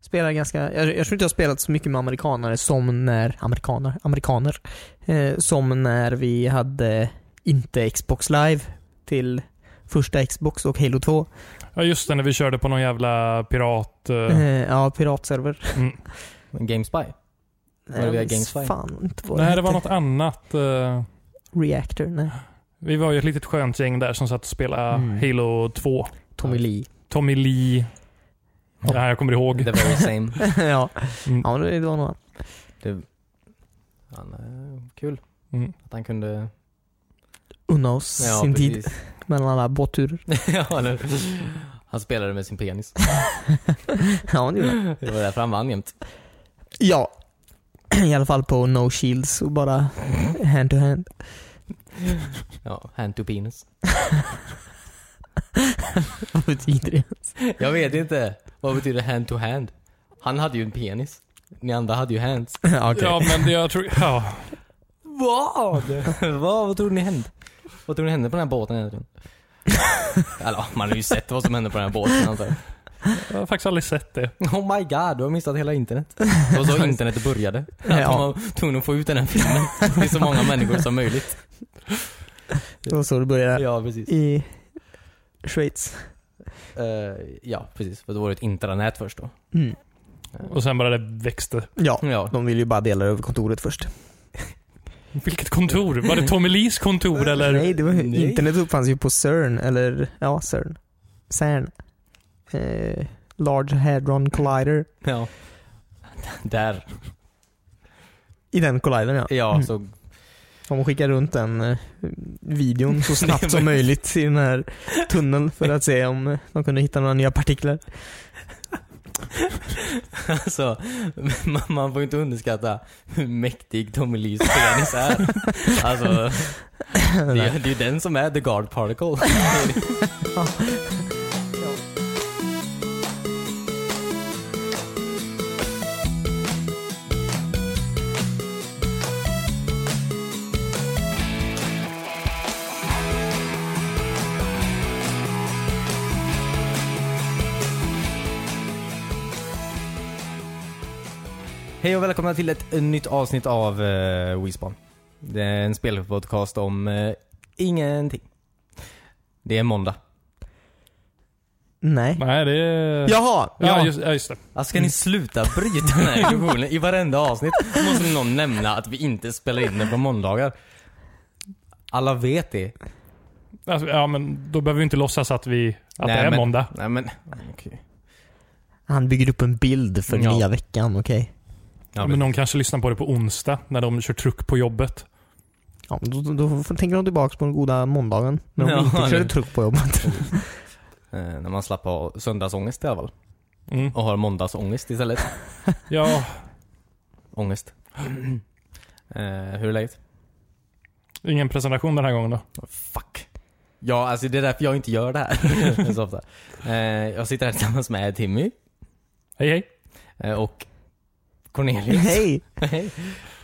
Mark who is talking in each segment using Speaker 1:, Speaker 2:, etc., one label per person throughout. Speaker 1: Spelar ganska, jag, jag tror inte jag har spelat så mycket med amerikanare som när, amerikaner, amerikaner, eh, som när vi hade inte Xbox live till första Xbox och Halo 2.
Speaker 2: Ja, just det. När vi körde på någon jävla pirat... eh,
Speaker 1: Eh, ja, piratserver.
Speaker 2: mm.
Speaker 3: GameSpy. Var det
Speaker 1: Nej,
Speaker 3: via
Speaker 1: jag minns
Speaker 3: Gamespy?
Speaker 1: Fan, inte vad
Speaker 2: Nej, det var
Speaker 1: hette.
Speaker 2: något annat. eh,
Speaker 1: Reactor, nej.
Speaker 2: Vi var ju ett litet skönt gäng där som satt och spelade
Speaker 1: Mm.
Speaker 2: Halo 2.
Speaker 1: Tommy Lee.
Speaker 2: Tommy Lee.
Speaker 3: Ja.
Speaker 2: Ja, jag kommer ihåg.
Speaker 3: The very same.
Speaker 1: ja.
Speaker 2: Mm.
Speaker 1: ja, det var nog han.
Speaker 3: Det, han, eh, kul
Speaker 2: Mm.
Speaker 3: att han kunde...
Speaker 1: Unna oss sin tid
Speaker 3: precis.
Speaker 1: mellan alla båtturer.
Speaker 3: ja, eller, han spelade med sin penis.
Speaker 1: ja, det gjorde han.
Speaker 3: Det var därför han vann jämt.
Speaker 1: Ja. I alla fall på no shields och bara hand to hand.
Speaker 3: Ja, hand to penis.
Speaker 1: Vad betyder det?
Speaker 3: Jag vet inte. Vad betyder hand to hand? Han hade ju en penis. Ni andra hade ju hands.
Speaker 1: Ja, okej.
Speaker 2: Ja, men det, jag tror... Ja.
Speaker 3: Vad? Vad? Vad tror ni hände? Vad tror ni hände på den här båten egentligen? alltså, man har ju sett vad som hände på den här båten antar jag.
Speaker 2: Jag har faktiskt aldrig sett det.
Speaker 3: Oh my god, du har missat hela internet. Det var så internet började. Att
Speaker 1: Ja.
Speaker 3: de var tvungna att få ut den här filmen till så många människor som möjligt.
Speaker 1: Det var så det började.
Speaker 3: Ja, precis.
Speaker 1: I Schweiz.
Speaker 3: Eh, ja, precis. För då var det ett intranät först då.
Speaker 1: Mm.
Speaker 2: Och sen bara det växte.
Speaker 1: Ja,
Speaker 3: Ja.
Speaker 1: de ville ju bara dela över kontoret först.
Speaker 2: Vilket kontor? Var det Tommy Lees kontor eller?
Speaker 1: Nej, det var, ju-
Speaker 3: Nej.
Speaker 1: internet uppfanns ju på CERN, eller ja, CERN. CERN. Eh, Large Hadron Collider.
Speaker 3: Ja. Där.
Speaker 1: I den collidern ja.
Speaker 3: Ja, så...
Speaker 1: De skickar runt den eh, videon så snabbt som möjligt i den här tunneln för att se om eh, de kunde hitta några nya partiklar.
Speaker 3: Alltså, man, man får inte underskatta hur mäktig Tommy Lees penis är. Alltså, det, är- det är ju den som är the guard particle. Hej och välkomna till ett nytt avsnitt av uh, Wispan. Det är en spelpodcast om eh, ingenting. Det är måndag.
Speaker 1: Nej.
Speaker 2: Nej, det... Ja,
Speaker 1: Jaha!
Speaker 2: ja, just, ja, just det.
Speaker 3: Alltså ska ni sluta bryta den här illusionen? I varenda avsnitt måste någon nämna att vi inte spelar in den på måndagar. Alla vet det.
Speaker 2: Alltså, ja, men då behöver vi inte låtsas att, vi, att
Speaker 3: Nej,
Speaker 2: det är
Speaker 3: men-
Speaker 2: måndag.
Speaker 3: Nej men, okej.
Speaker 1: Han bygger upp en bild för
Speaker 3: Ja.
Speaker 1: nya veckan, okej.
Speaker 3: Ja,
Speaker 2: men
Speaker 3: men,
Speaker 2: någon kanske lyssnar på det på onsdag när de kör truck på jobbet.
Speaker 1: Ja, men då, då, då tänker de tillbaka på den goda måndagen när de
Speaker 3: Ja,
Speaker 1: inte körde
Speaker 3: nu.
Speaker 1: truck på jobbet.
Speaker 3: eh, när man slapp ha söndagsångest i alla fall.
Speaker 2: Mm.
Speaker 3: Och har måndagsångest istället.
Speaker 2: Ja,
Speaker 3: Ångest. Eh, hur är läget?
Speaker 2: ingen presentation den här gången då.
Speaker 3: Fuck. Ja, alltså det är därför jag inte gör det här så ofta. Eh, jag sitter här tillsammans med Timmy
Speaker 2: Hej, hej.
Speaker 3: eh, och Cornelius.
Speaker 1: Hej!
Speaker 3: Hej.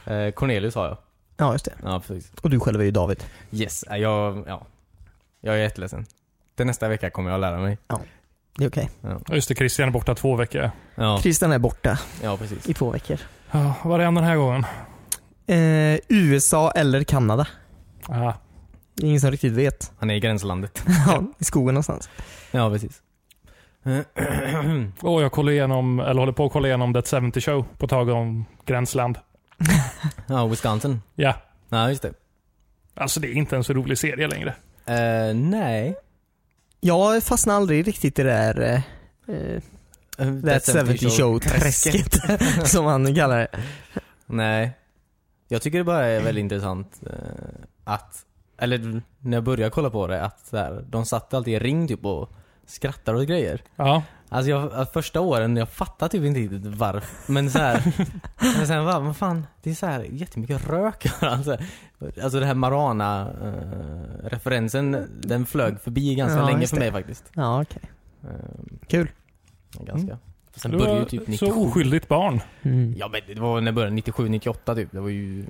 Speaker 3: Eh, Cornelius har jag.
Speaker 1: Ja, just det.
Speaker 3: Ja, precis.
Speaker 1: Och du själv är ju David.
Speaker 3: Yes, eh, jag, ja. Jag är jätteledsen. Till nästa vecka kommer jag att lära mig.
Speaker 1: Det är okej.
Speaker 2: Ja, Just det, Christian är borta två veckor.
Speaker 3: Ja,
Speaker 1: Christian är borta
Speaker 3: ja precis.
Speaker 1: i två veckor.
Speaker 2: Ja, vad är han den här gången?
Speaker 1: Eh, USA eller Kanada?
Speaker 2: Ah,
Speaker 1: Det är ingen som riktigt vet.
Speaker 3: Han är i gränslandet.
Speaker 1: Ja, I skogen någonstans.
Speaker 3: Ja, precis. Eh,
Speaker 2: och jag kollar igenom, eller håller på att kolla igenom That 70 Show på tag om Gränsland.
Speaker 3: Ja, Wisconsin.
Speaker 2: Ja,
Speaker 3: Ja, just det.
Speaker 2: alltså det är inte en så rolig serie längre.
Speaker 3: Eh, nej.
Speaker 1: Jag fastnar aldrig riktigt i det där eh, eh,
Speaker 3: Eh,
Speaker 1: That 70 Show-träsket som han kallar det.
Speaker 3: Nej. Jag tycker det bara är väldigt intressant eh, att, eller när jag började kolla på det, att så här, de satt alltid i ring typ och skrattade åt grejer.
Speaker 2: Ja,
Speaker 3: Alltså jag, att första åren, jag fattade typ inte riktigt varför. Men så här, men sen bara, vad fan, det är så här jättemycket rök alltså, alltså det här Marana-referensen, den flög förbi ganska
Speaker 1: Ja,
Speaker 3: länge
Speaker 1: just
Speaker 3: för
Speaker 1: det.
Speaker 3: mig faktiskt.
Speaker 1: Ja, okej.
Speaker 3: Eh,
Speaker 1: Kul.
Speaker 3: ganska. Sen
Speaker 2: du
Speaker 3: började ju
Speaker 2: var
Speaker 3: typ
Speaker 2: så
Speaker 3: 97.
Speaker 2: oskyldigt barn.
Speaker 1: Mm.
Speaker 3: Ja men det var när det började, 97, 98 typ. Det var ju...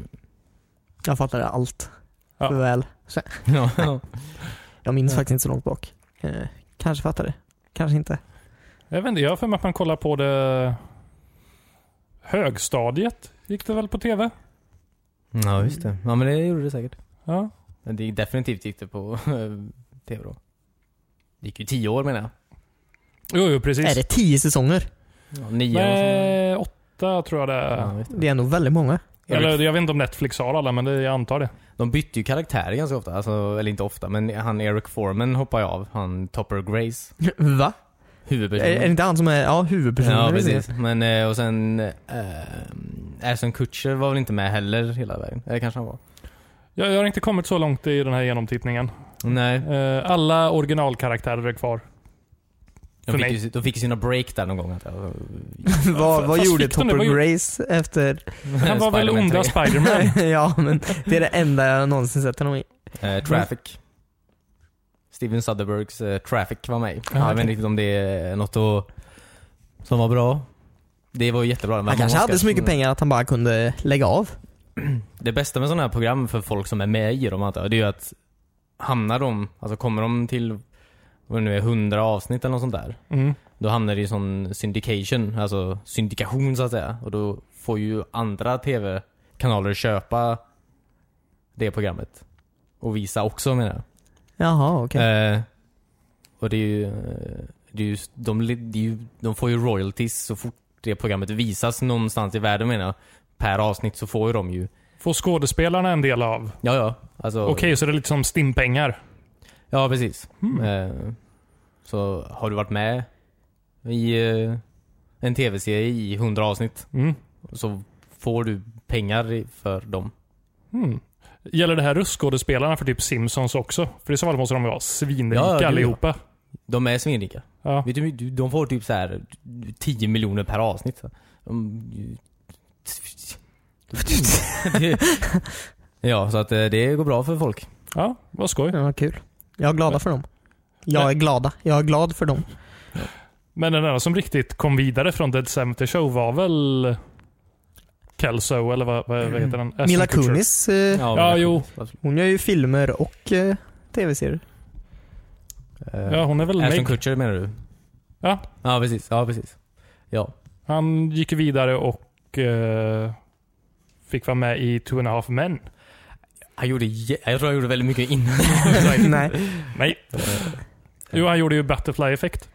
Speaker 1: Jag fattar allt
Speaker 2: Ja.
Speaker 1: för väl.
Speaker 3: Ja.
Speaker 1: Jag minns
Speaker 2: Ja.
Speaker 1: faktiskt inte så långt bak. Eh, kanske fattar det. Kanske inte.
Speaker 2: Jag vet inte, jag har för mig att man kollar på det... Högstadiet gick det väl på TV?
Speaker 3: Ja, just det. Ja, men det gjorde det säkert.
Speaker 2: Ja.
Speaker 3: Men det definitivt gick det på tv då. Det gick ju tio år menar jag.
Speaker 2: Jo, jo precis.
Speaker 1: Är det tio säsonger?
Speaker 3: Ja, nio och
Speaker 2: Nej, åtta tror jag det är.
Speaker 3: sånt.
Speaker 1: Det är nog väldigt många.
Speaker 2: Eller jag vet inte om Netflix har alla, men det, jag antar det.
Speaker 3: De bytte ju karaktär ganska ofta, alltså, eller inte ofta, men han Eric Foreman hoppar ju av. Han Topper Grace,
Speaker 1: Va? Är,
Speaker 3: huvudpersonen.
Speaker 1: är det inte han som är, ja, huvudpersonen?
Speaker 3: ja, precis. Men eh, och sen... Eh, Ashton Kutcher var väl inte med heller hela vägen? Eller kanske han var?
Speaker 2: Jag, jag har inte kommit så långt i den här genomtittningen.
Speaker 3: Nej.
Speaker 2: Eh, alla originalkaraktärer är kvar.
Speaker 3: De
Speaker 2: För
Speaker 3: fick,
Speaker 2: mig.
Speaker 3: ju, de fick ju sina break där någon gång. antar jag.
Speaker 1: vad vad
Speaker 2: Fast
Speaker 1: gjorde
Speaker 2: fick de det?
Speaker 1: Topper
Speaker 2: Vad gjorde-
Speaker 1: Grace efter...
Speaker 2: Han var väl
Speaker 3: Spider-Man
Speaker 2: onda
Speaker 3: 3.
Speaker 2: Spiderman?
Speaker 1: ja, men det är det enda jag någonsin sett honom i. Mm.
Speaker 3: Eh, traffic. Steven Soderberghs eh, Traffic var med.
Speaker 2: Ja,
Speaker 3: jag vet
Speaker 2: okej.
Speaker 3: inte riktigt om det är något att, som var bra. Det var ju jättebra. Den vann
Speaker 1: Han kanske
Speaker 3: Oscars.
Speaker 1: hade så mycket
Speaker 3: Mm.
Speaker 1: pengar att han bara kunde lägga av.
Speaker 3: Det bästa med sådana här program för folk som är med i dem antar jag, det är ju att hamnar de, alltså kommer de till, vad det nu är, 100 avsnitt eller något sånt där.
Speaker 2: Mm.
Speaker 3: Då hamnar det i sån syndication, alltså syndikation så att säga. Och då får ju andra tv-kanaler köpa det programmet. Och visa också menar jag.
Speaker 1: Jaha, okej.
Speaker 3: Eh, och det är ju, eh, det är ju de, li- det är ju, de får ju royalties så fort det programmet visas någonstans i världen menar jag. Per avsnitt så får ju de ju,
Speaker 2: Får skådespelarna en del av?
Speaker 3: ja ja. Alltså,
Speaker 2: Okej, så det är lite som stimpengar.
Speaker 3: Ja precis.
Speaker 2: Mm.
Speaker 3: Eh, så har du varit med i eh, en tv-serie i 100 avsnitt
Speaker 2: Mm.
Speaker 3: så får du pengar i- för dem.
Speaker 2: Mm. Gäller det här röstskådespelarna för typ Simpsons också? För i så fall måste de ju vara svinrika
Speaker 3: Ja, ja, det-
Speaker 2: allihopa.
Speaker 3: De är svinrika.
Speaker 2: Ja.
Speaker 3: Vet du, hur mycket- de får typ så här 10 miljoner per avsnitt. De, ja, så att eh, det går bra för folk.
Speaker 2: ja, vad skoj.
Speaker 1: Ja, kul. Jag är glada för dem. Jag är glada. Jag är glad för dem.
Speaker 2: Men den enda som riktigt kom vidare från Dead 70 Show var väl Kelso, eller vad, Eh, vad vad
Speaker 3: Mm.
Speaker 2: heter den? Ashton
Speaker 1: Mm. Mila
Speaker 2: Kutcher.
Speaker 1: Kunis, eh,
Speaker 2: Ja, jo.
Speaker 3: absolut.
Speaker 1: hon gör ju filmer och eh, tv-serier.
Speaker 2: Ja,
Speaker 3: Eh,
Speaker 2: hon är väl
Speaker 3: Ashton
Speaker 2: med.
Speaker 3: Kutcher menar du?
Speaker 2: Ja.
Speaker 3: Ja, precis. Ja, precis. Ja.
Speaker 2: Han gick vidare och eh, fick vara med i Two and a Half Men.
Speaker 3: Han gjorde, jä- jag tror han gjorde väldigt mycket innan.
Speaker 1: Nej.
Speaker 2: Nej. Jo, han gjorde ju Butterfly Effect.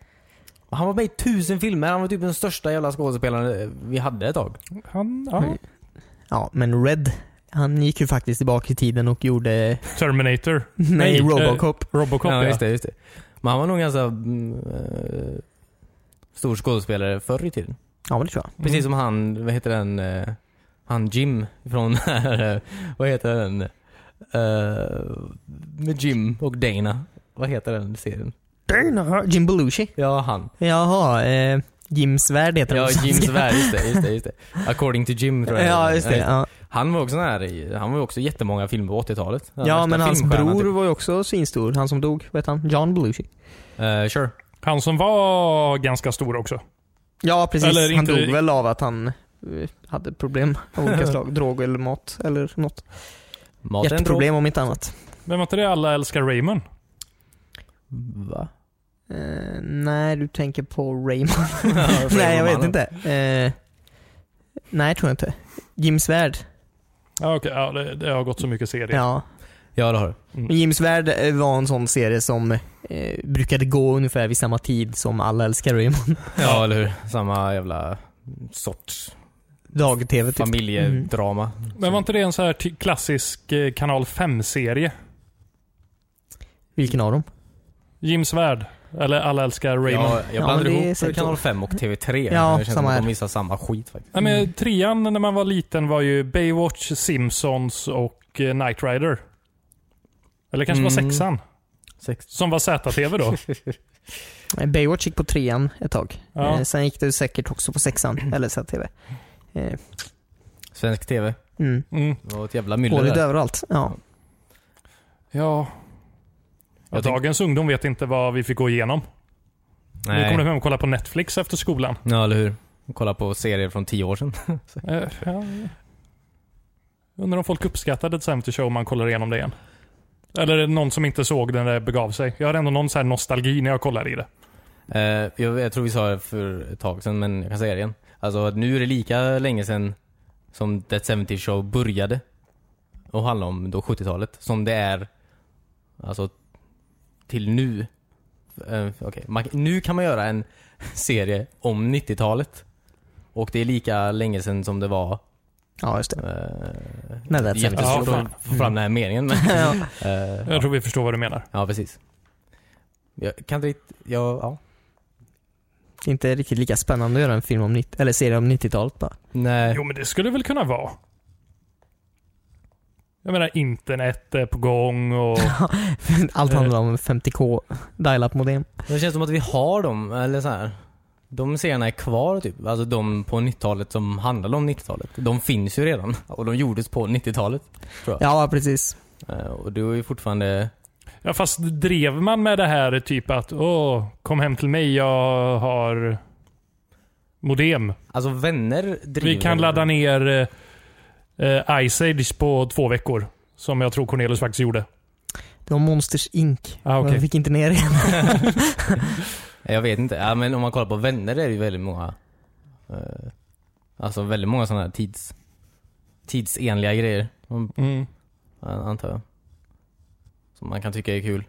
Speaker 3: Han var med i tusen filmer. Han var typ den största jävla skådespelaren eh, vi hade ett tag.
Speaker 2: Han, ja.
Speaker 1: Mm. Ja, men Red, han gick ju faktiskt tillbaka i tiden och gjorde...
Speaker 2: Terminator.
Speaker 1: Nej,
Speaker 2: eh,
Speaker 1: Robocop.
Speaker 2: Robocop, ja.
Speaker 3: just det, just det. Men han var nog ganska mm, eh, stor skådespelare förr i tiden.
Speaker 1: Ja, men det tror jag.
Speaker 3: Precis som han, vad heter den, eh, han Jim från, eh, vad heter den, Eh, med Jim och Dana. Vad heter den serien?
Speaker 1: Dana- Jim Belushi.
Speaker 3: Ja, han.
Speaker 1: Jaha, eh, Jim Svärd heter
Speaker 3: Ja,
Speaker 1: han.
Speaker 3: Jim Svärd, just det, just det, just det. According to Jim tror jag.
Speaker 1: Ja, just det. Ja,
Speaker 3: Han var också sån här, i- han var ju också jättemånga filmer på 80-talet. Den
Speaker 1: ja
Speaker 3: värsta
Speaker 1: men hans
Speaker 3: filmstjärnan
Speaker 1: bror
Speaker 3: typ.
Speaker 1: var ju också svinstor. Han som dog, vet han? John Belushi.
Speaker 3: Eh, sure.
Speaker 2: Han som var ganska stor också.
Speaker 1: Ja, precis.
Speaker 2: Eller
Speaker 1: han
Speaker 2: inte-
Speaker 1: dog väl av att han eh, hade problem av olika slag. Drog eller mat eller något.
Speaker 3: Maten
Speaker 1: Ett problem om inte annat.
Speaker 2: Men var inte det Alla älskar Raymond?
Speaker 3: drog- Va?
Speaker 1: Eh, nej, du tänker på Raymond.
Speaker 3: Raymond
Speaker 1: nej, jag vet
Speaker 3: Mannen.
Speaker 1: inte. Eh, nej, tror jag inte. Jim Svärd.
Speaker 2: Ja, okej. ja, det, det har gått så mycket serier. Mm.
Speaker 1: Ja.
Speaker 3: Ja, det har du.
Speaker 1: Men Jim Svärd eh, var en sån serie som eh, brukade gå ungefär vid samma tid som Alla älskar Raymond.
Speaker 3: Ja, eller hur. Samma jävla sorts
Speaker 1: Dag-tv typ.
Speaker 3: familjedrama.
Speaker 1: Mm.
Speaker 2: Men var inte det en så här ty- klassisk eh, kanal 5-serie?
Speaker 1: Vilken av dem?
Speaker 2: Jim Svärd. Eller Alla älskar Raymond.
Speaker 3: Ja, jag blandade
Speaker 1: men det är
Speaker 3: ihop
Speaker 1: säkert
Speaker 3: kanal 5 och TV3.
Speaker 1: Ja,
Speaker 3: jag känner
Speaker 1: samma
Speaker 3: att
Speaker 1: här.
Speaker 3: De visar samma skit faktiskt.
Speaker 2: Nej, men trean när man var liten var ju Baywatch, Simpsons och eh, Knight Rider. Eller kanske var
Speaker 3: Mm.
Speaker 2: sexan?
Speaker 3: Sex.
Speaker 2: Som var ZTV då?
Speaker 1: Eh, Baywatch gick på trean ett tag.
Speaker 2: Ja. Mm.
Speaker 1: Eh, sen gick det säkert också på sexan, eller ZTV. Eh,
Speaker 3: Svensk TV.
Speaker 1: mm.
Speaker 2: Mm.
Speaker 3: Det var ett jävla myller
Speaker 1: Hålet
Speaker 3: där.
Speaker 1: överallt. Ja.
Speaker 2: Ja.
Speaker 3: Jag tänk-
Speaker 2: Dagens ungdom vet inte vad vi fick gå igenom. Vi
Speaker 3: Nej.
Speaker 2: kommer hem och kollar på Netflix efter skolan.
Speaker 3: Ja, eller hur. Kolla på serier från 10 år sedan.
Speaker 2: Eh, ja. Undrar om folk uppskattade The 70 Show om man kollar igenom det igen. Eller är det någon som inte såg den där begav sig? Jag har ändå någon så här nostalgi när jag kollar i det.
Speaker 3: Eh, jag, jag tror vi sa det för ett tag sedan, men jag kan säga det igen. Alltså att nu är det lika länge sedan som That 70 Show började och handlade om då 70-talet, som det är alltså till nu. Eh, okej, man, nu kan man göra en serie om 90-talet. Och det är lika länge sedan som det var...
Speaker 1: Ja, just det.
Speaker 3: Eh,
Speaker 1: När That 70
Speaker 2: Ja,
Speaker 3: jättesvårt
Speaker 2: fan.
Speaker 3: att få fram den här meningen men...
Speaker 1: ja.
Speaker 3: eh,
Speaker 2: Jag tror vi förstår vad du menar.
Speaker 3: Ja, precis. Jag kan inte riktigt... Jag, ja.
Speaker 1: Inte riktigt lika spännande att göra en film om 90, eller serie om 90-talet bara.
Speaker 3: Nej.
Speaker 2: Jo, men det skulle väl kunna vara. Jag menar, internet är på gång och...
Speaker 1: Allt
Speaker 2: Eh.
Speaker 1: handlar om 50k dial-up modem.
Speaker 3: Det känns som att vi har dem, eller så här. De serierna är kvar typ. Alltså de på 90-talet som handlade om 90-talet. De finns ju redan. Och de gjordes på 90-talet.
Speaker 1: Ja, precis.
Speaker 3: Eh, Och du är ju fortfarande...
Speaker 2: Ja, fast drev man med det här typ att åh, kom hem till mig, jag har modem.
Speaker 3: Alltså vänner driver...
Speaker 2: Vi kan ladda ner eh, eh, Ice Age på två veckor. Som jag tror Cornelius faktiskt gjorde.
Speaker 1: Det var Monsters Inc.
Speaker 2: Ah, okej.
Speaker 1: Jag fick inte ner det.
Speaker 3: Jag vet inte. Ja, men om man kollar på vänner är det ju väldigt många... eh, Alltså väldigt många sådana här tids... Tidsenliga grejer. om-
Speaker 2: Mm.
Speaker 3: Antar jag. Som man kan tycka är kul.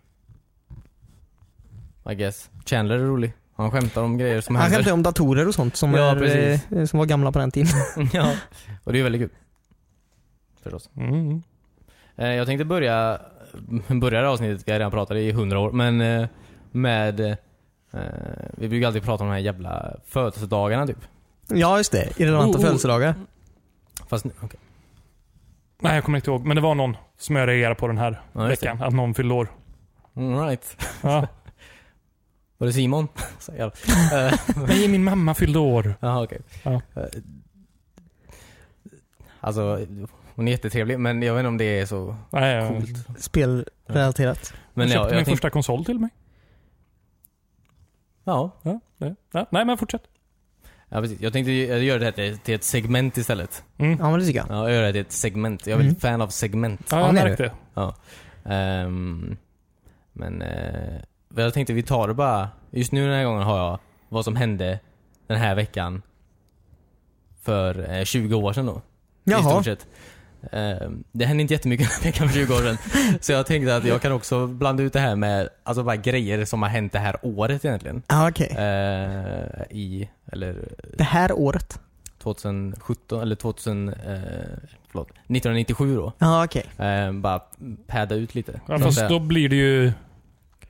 Speaker 3: I guess. Chandler är rolig. Han skämtar om grejer som
Speaker 1: Han
Speaker 3: händer.
Speaker 1: skämtade om datorer och sånt som,
Speaker 3: Ja,
Speaker 1: är,
Speaker 3: precis.
Speaker 1: eh, som var gamla på den tiden.
Speaker 3: ja, och det är ju väldigt kul. Förstås.
Speaker 2: Mm.
Speaker 3: Eh, Jag tänkte börja, börja det här avsnittet, vi har redan pratat i hundra år, men eh, med eh, vi brukar alltid prata om de här jävla födelsedagarna typ.
Speaker 1: Ja, just det. Irrelevanta
Speaker 2: Oh, oh.
Speaker 1: födelsedagar.
Speaker 3: Fast nu, okej.
Speaker 2: Nej, jag kommer inte ihåg. Men det var någon som jag reagerade på den här
Speaker 3: Ja, just det.
Speaker 2: veckan. Att någon fyllde år.
Speaker 3: All right.
Speaker 2: Ja.
Speaker 3: Var det Simon? Så jävla- Eh,
Speaker 2: Nej, min mamma fyllde år.
Speaker 3: Jaha, okej.
Speaker 2: Ja.
Speaker 3: Eh, Alltså, hon är jättetrevlig men jag vet inte om det är så
Speaker 2: Nej, jag,
Speaker 3: coolt.
Speaker 1: Spelrelaterat.
Speaker 2: Mm. jag
Speaker 3: Men
Speaker 2: köpte min
Speaker 3: ja, jag tänkte,
Speaker 2: första konsol till mig.
Speaker 3: ja,
Speaker 2: Ja, nej. Ja, nej, men fortsätt.
Speaker 3: ja, precis. Jag tänkte ju- jag gör det här till- till ett segment istället.
Speaker 2: Mm.
Speaker 1: Ja, men det tycker jag.
Speaker 3: Ja, jag gör det här till ett segment. Jag är väldigt fan av segment.
Speaker 2: Ja, jag
Speaker 1: Ja, nej, du.
Speaker 2: märkte det.
Speaker 3: Ehm, men eh, väl, jag tänkte vi tar det bara. Just nu den här gången har jag vad som hände den här veckan för eh, 20 år sedan då. I
Speaker 1: Jaha.
Speaker 3: stort sett. Ehm, det hände inte jättemycket den här veckan för 20 år sedan. så jag tänkte att jag kan också blanda ut det här med alltså bara grejer som har hänt det här året egentligen.
Speaker 1: Ja, okej.
Speaker 3: Eh. Ehm, I, eller
Speaker 1: Det här året.
Speaker 3: 2017, eller 2000, eh, förlåt, 1997 då.
Speaker 1: Ja, okej.
Speaker 3: Ehm, bara padda ut lite.
Speaker 2: Ja,
Speaker 3: Så att
Speaker 2: fast
Speaker 3: säga.
Speaker 2: då blir det ju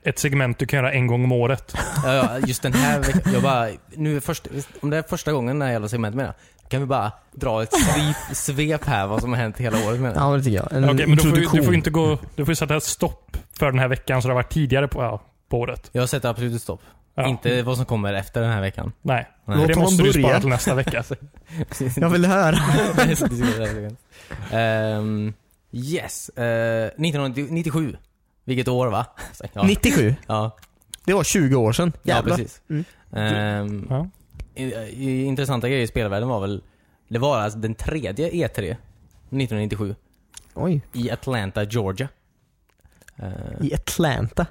Speaker 2: ett segment du kan göra en gång om året.
Speaker 3: Ja, ja, just den här veckan. Jag bara, nu är först, om det är första gången det här jävla segmentet menar jag, kan vi bara dra ett svep, svep här vad som har hänt hela året menar jag.
Speaker 1: Ja, men det tycker jag. En
Speaker 2: Okej, men då får du,
Speaker 1: introduktion.
Speaker 2: du får ju inte gå... Du får ju sätta ett stopp för den här veckan så det har varit tidigare på, ja, på året.
Speaker 3: Jag sätter absolut ett stopp.
Speaker 2: Ja.
Speaker 3: Inte vad som kommer efter den här veckan.
Speaker 2: Nej.
Speaker 3: Nej.
Speaker 1: Låt
Speaker 2: det
Speaker 1: honom
Speaker 2: måste du
Speaker 1: börja.
Speaker 2: spara till nästa vecka.
Speaker 1: Jag vill höra.
Speaker 3: Ehm, yes. Uh, 1997. Vilket år va? Så, Ja,
Speaker 1: 97.
Speaker 3: ja,
Speaker 1: Det var 20 år sedan.
Speaker 3: ja
Speaker 1: Jävlar.
Speaker 3: precis.
Speaker 1: Mm.
Speaker 3: Ehm,
Speaker 2: Ja.
Speaker 3: i- i- intressanta grejer i spelvärlden var väl, det var alltså den tredje E3 1997.
Speaker 1: Oj.
Speaker 3: I Atlanta, Georgia. Eh,
Speaker 1: I Atlanta.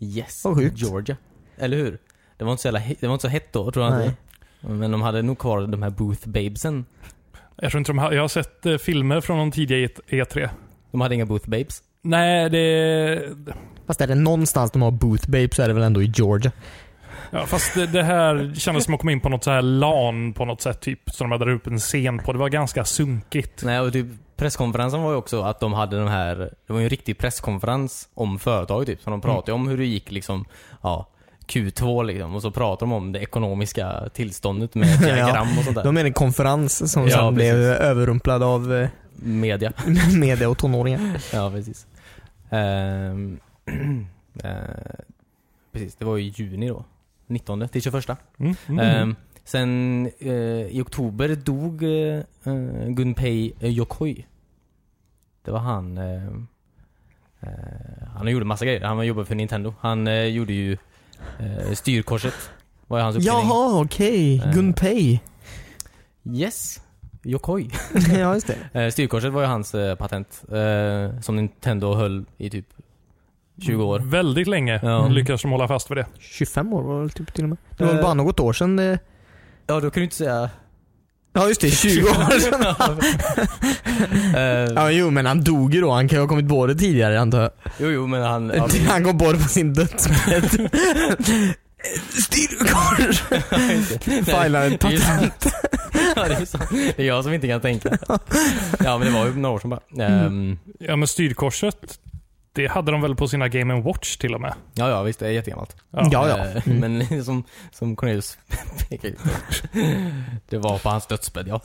Speaker 3: yes.
Speaker 1: Vad sjukt.
Speaker 3: Georgia. Eller hur? Det var inte så, jävla, he- det var inte så hett då, tror jag
Speaker 1: Nej.
Speaker 3: inte. Men de hade nog kvar de här Booth Babesen.
Speaker 2: Jag, tror inte de har, jag har sett eh, filmer från de tidiga E- E3.
Speaker 3: De hade inga Booth Babes.
Speaker 2: Nej, det...
Speaker 1: Fast är det någonstans de har Booth Babe så är det väl ändå i Georgia.
Speaker 2: Ja, fast det, det här kändes som att komma in på något så här LAN på något sätt. Typ, som de hade upp en scen på. Det var ganska sunkigt.
Speaker 3: Nej, och typ presskonferensen var ju också att de hade de här, det var ju en riktig presskonferens om företaget typ. Så de pratade om hur det gick liksom, ja, Q2 liksom. Och så pratade de om det ekonomiska tillståndet med diagram och sånt där.
Speaker 1: De är en konferens som
Speaker 3: Ja,
Speaker 1: sen
Speaker 3: precis.
Speaker 1: blev överrumplad av eh,
Speaker 3: Media.
Speaker 1: media och tonåringar.
Speaker 3: Ja, precis. Ehm, eh, precis, det var i juni då. 19 till 21.
Speaker 2: Mm. Mm.
Speaker 3: Ehm, sen eh, i oktober dog eh, eh, Gunpei Yokoi. Det var han. Eh, eh, han gjorde massa grejer. Han jobbade för Nintendo. Han eh, gjorde ju eh, styrkorset. Var ju hans uppfinning.
Speaker 1: Jaha, okej.
Speaker 3: Eh.
Speaker 1: Gunpei.
Speaker 3: Yes! Yokoi.
Speaker 1: ja, just det.
Speaker 3: Eh, styrkorset var ju hans eh, patent. Eh, som Nintendo höll i typ 20 år.
Speaker 2: Väldigt länge
Speaker 3: Ja.
Speaker 2: lyckas de hålla fast vid det.
Speaker 1: 25 år var det typ till och med. Det var
Speaker 3: Eh.
Speaker 1: väl bara något år sedan det...
Speaker 3: Ja, då kan du inte säga...
Speaker 1: Ja just det, 20 år sedan.
Speaker 3: Eh,
Speaker 1: Ja jo men han dog ju då, han kan ju ha kommit på det tidigare antar jag.
Speaker 3: jo, jo, men han... han
Speaker 1: Han kom på det på sin dödsbädd. Styvkarl! Filar en
Speaker 3: Det är ju
Speaker 1: patent.
Speaker 3: sant. ja, det, är ju sant. det är jag som inte kan tänka. Ja, men det var ju några år sedan bara.
Speaker 1: Mm.
Speaker 3: Ehm,
Speaker 2: Ja, men styrkorset, det hade de väl på sina Game Watch till och med?
Speaker 3: Ja, ja, visst. Det är jättegammalt.
Speaker 1: Ja, ja.
Speaker 3: Eh,
Speaker 1: Mm.
Speaker 3: Men som, som Cornelius pekar ut. Det var på hans dödsbädd, ja.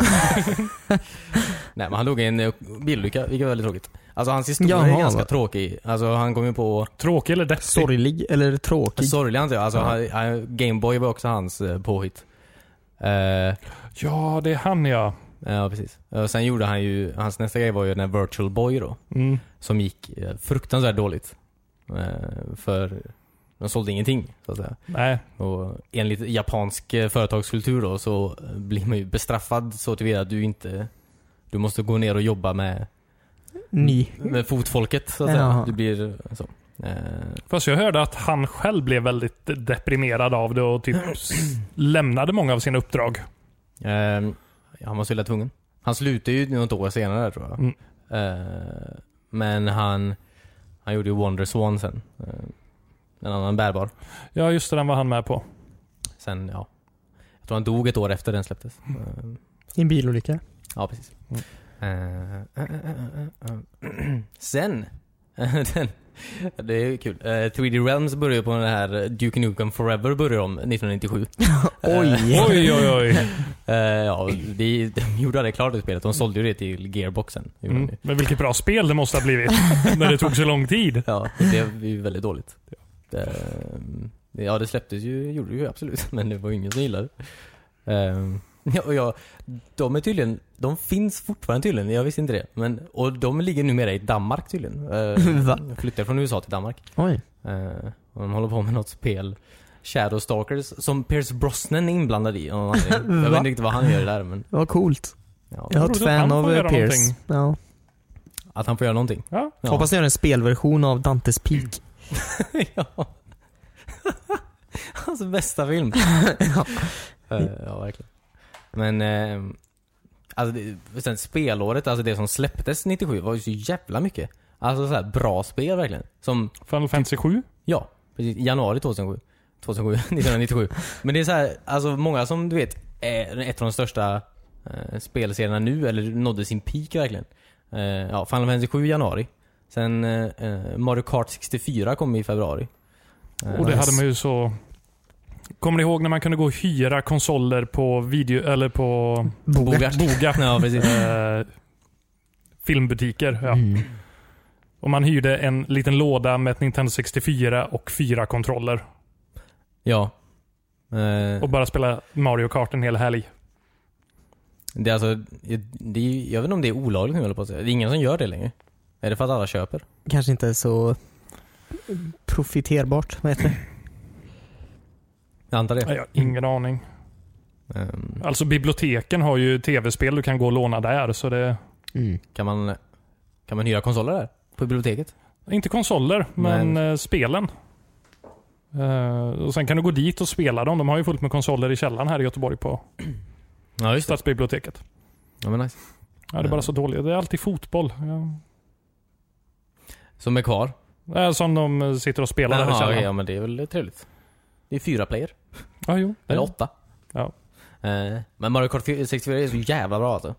Speaker 3: Nej, men han dog i en eh, bilolycka, vilket var väldigt tråkigt. Alltså hans historia är
Speaker 1: Jaha,
Speaker 3: ganska
Speaker 1: va.
Speaker 3: tråkig. Alltså han kom ju på...
Speaker 2: Tråkig eller deppig?
Speaker 1: Sorglig eller tråkig.
Speaker 3: Sorglig antar jag. Alltså,
Speaker 1: Typ. Ja.
Speaker 3: han- han- Gameboy var också hans eh, påhitt. Eh,
Speaker 2: Ja, det är han ja.
Speaker 3: ja, precis. Eh, sen gjorde han ju... Hans nästa grej var ju den här Virtual Boy då.
Speaker 2: Mm.
Speaker 3: som gick eh, fruktansvärt dåligt. Eh, För de sålde ingenting, så att säga.
Speaker 2: Nej,
Speaker 3: Och enligt japansk eh, företagskultur då så eh, blir man ju bestraffad så tillvida att du inte du måste gå ner och jobba med,
Speaker 1: Ny.
Speaker 3: med fotfolket så att säga.
Speaker 1: Jaha.
Speaker 3: Du blir så. Eh,
Speaker 2: Fast jag hörde att han själv blev väldigt deprimerad av det och typ s- lämnade många av sina uppdrag.
Speaker 3: ehm, han var så illa tvungen. Han slutade ju något år senare tror jag.
Speaker 2: Mm.
Speaker 3: Eh, men han, han gjorde ju Wonder Swan sen. Eh, en annan bärbar.
Speaker 2: Ja, just det. Den var han med på.
Speaker 3: Sen, ja. Jag tror han dog ett år efter den släpptes.
Speaker 2: Mm.
Speaker 3: Eh,
Speaker 1: I en bilolycka.
Speaker 3: Ja, precis. Eh, eh, eh, eh, eh. Sen, den, det är ju kul. Eh, 3D Realms börjar ju på den här Duke Nukem Forever börjar om 1997.
Speaker 1: Oj!
Speaker 2: Oj, oj, Mm. oj.
Speaker 3: Eh, ja, de, de gjorde aldrig klart det spelet. De sålde ju det till Gearboxen. gjorde de
Speaker 2: Mm.
Speaker 3: ju.
Speaker 2: Men vilket bra spel det måste ha blivit. när det tog så lång tid.
Speaker 3: Ja, det blev ju väldigt dåligt. Det, det- ja, det släpptes ju, gjorde det ju absolut, men det var ju ingen som gillade det. Ehm, ja, och jag, de är tydligen, de finns fortfarande tydligen, jag visste inte det. Men, och de ligger numera i Danmark tydligen. Ehm,
Speaker 1: Va?
Speaker 3: flyttar från USA till Danmark.
Speaker 1: Oj.
Speaker 3: Ehm, och de håller på med något spel, Shadowstalkers, som Pierce Brosnan är inblandad i. av någon anledning. Jag vet
Speaker 1: Va?
Speaker 3: inte riktigt vad han gör där, men
Speaker 1: Vad coolt.
Speaker 3: ja,
Speaker 1: Jag har
Speaker 2: Roligt
Speaker 1: ett
Speaker 2: att
Speaker 1: fan
Speaker 2: han får
Speaker 1: av eh,
Speaker 2: göra
Speaker 1: Pierce.
Speaker 2: någonting.
Speaker 1: Ja.
Speaker 3: att han får göra någonting.
Speaker 2: Ja.
Speaker 3: Ja.
Speaker 1: Hoppas ni gör en spelversion av Dantes Peak.
Speaker 3: ja. Hans bästa film. Eh, ja, verkligen. Men, eh, alltså, det, sen spelåret, alltså det som släpptes 97 var ju så jävla mycket. Alltså så här bra spel verkligen. Som,
Speaker 2: Final Fantasy 7.
Speaker 3: ja, precis, januari 2007. 2007, 1997. Men det är så här, alltså många som du vet, är ett av de största eh, spelserierna nu, eller nådde sin peak verkligen. Eh, ja, Final Fantasy 7 i januari. Sen eh, eh, Mario Kart 64 kom i februari. Eh,
Speaker 2: Och det hade man ju så... Kommer ni ihåg när man kunde gå och hyra konsoler på video... Eller på...
Speaker 1: Bogart.
Speaker 2: Bogart.
Speaker 3: Ja, precis.
Speaker 2: eh, filmbutiker. Ja.
Speaker 1: Mm.
Speaker 2: Och man hyrde en liten låda med ett Nintendo 64 och fyra kontroller.
Speaker 3: Ja. Eh,
Speaker 2: Och bara spela Mario Kart en hel helg.
Speaker 3: det är alltså, det är, ju- jag vet inte om det är olagligt nu eller på att säga. Det är ingen som gör det längre. Är det för att alla köper?
Speaker 1: Kanske inte så profiterbart, vad heter det?
Speaker 3: Jag antar det.
Speaker 2: Nej, Jag har ingen aning.
Speaker 3: Ehm,
Speaker 2: Alltså biblioteken har ju tv-spel du kan gå och låna där. Så det...
Speaker 3: kan, man, kan man hyra konsoler där? På biblioteket?
Speaker 2: Inte konsoler, men
Speaker 3: Nej.
Speaker 2: eh, spelen. Eh, och Sen kan du gå dit och spela dem. De har ju fullt med konsoler i källaren här i Göteborg på
Speaker 3: Ja, just det. Mm.
Speaker 2: Stadsbiblioteket.
Speaker 3: Ja, men nice.
Speaker 2: Ja, det är bara så dåligt. Det är alltid fotboll.
Speaker 3: Som är kvar?
Speaker 2: Ja. Eh, Som de eh, sitter och spelar där i
Speaker 3: Jaha,
Speaker 2: källaren.
Speaker 3: okej, ja, men det är väl trevligt. Det är fyra player.
Speaker 2: Ja, jo. det-
Speaker 3: Eller åtta.
Speaker 2: Ja.
Speaker 3: Ehm, men Mario Kart 64 är så jävla bra alltså.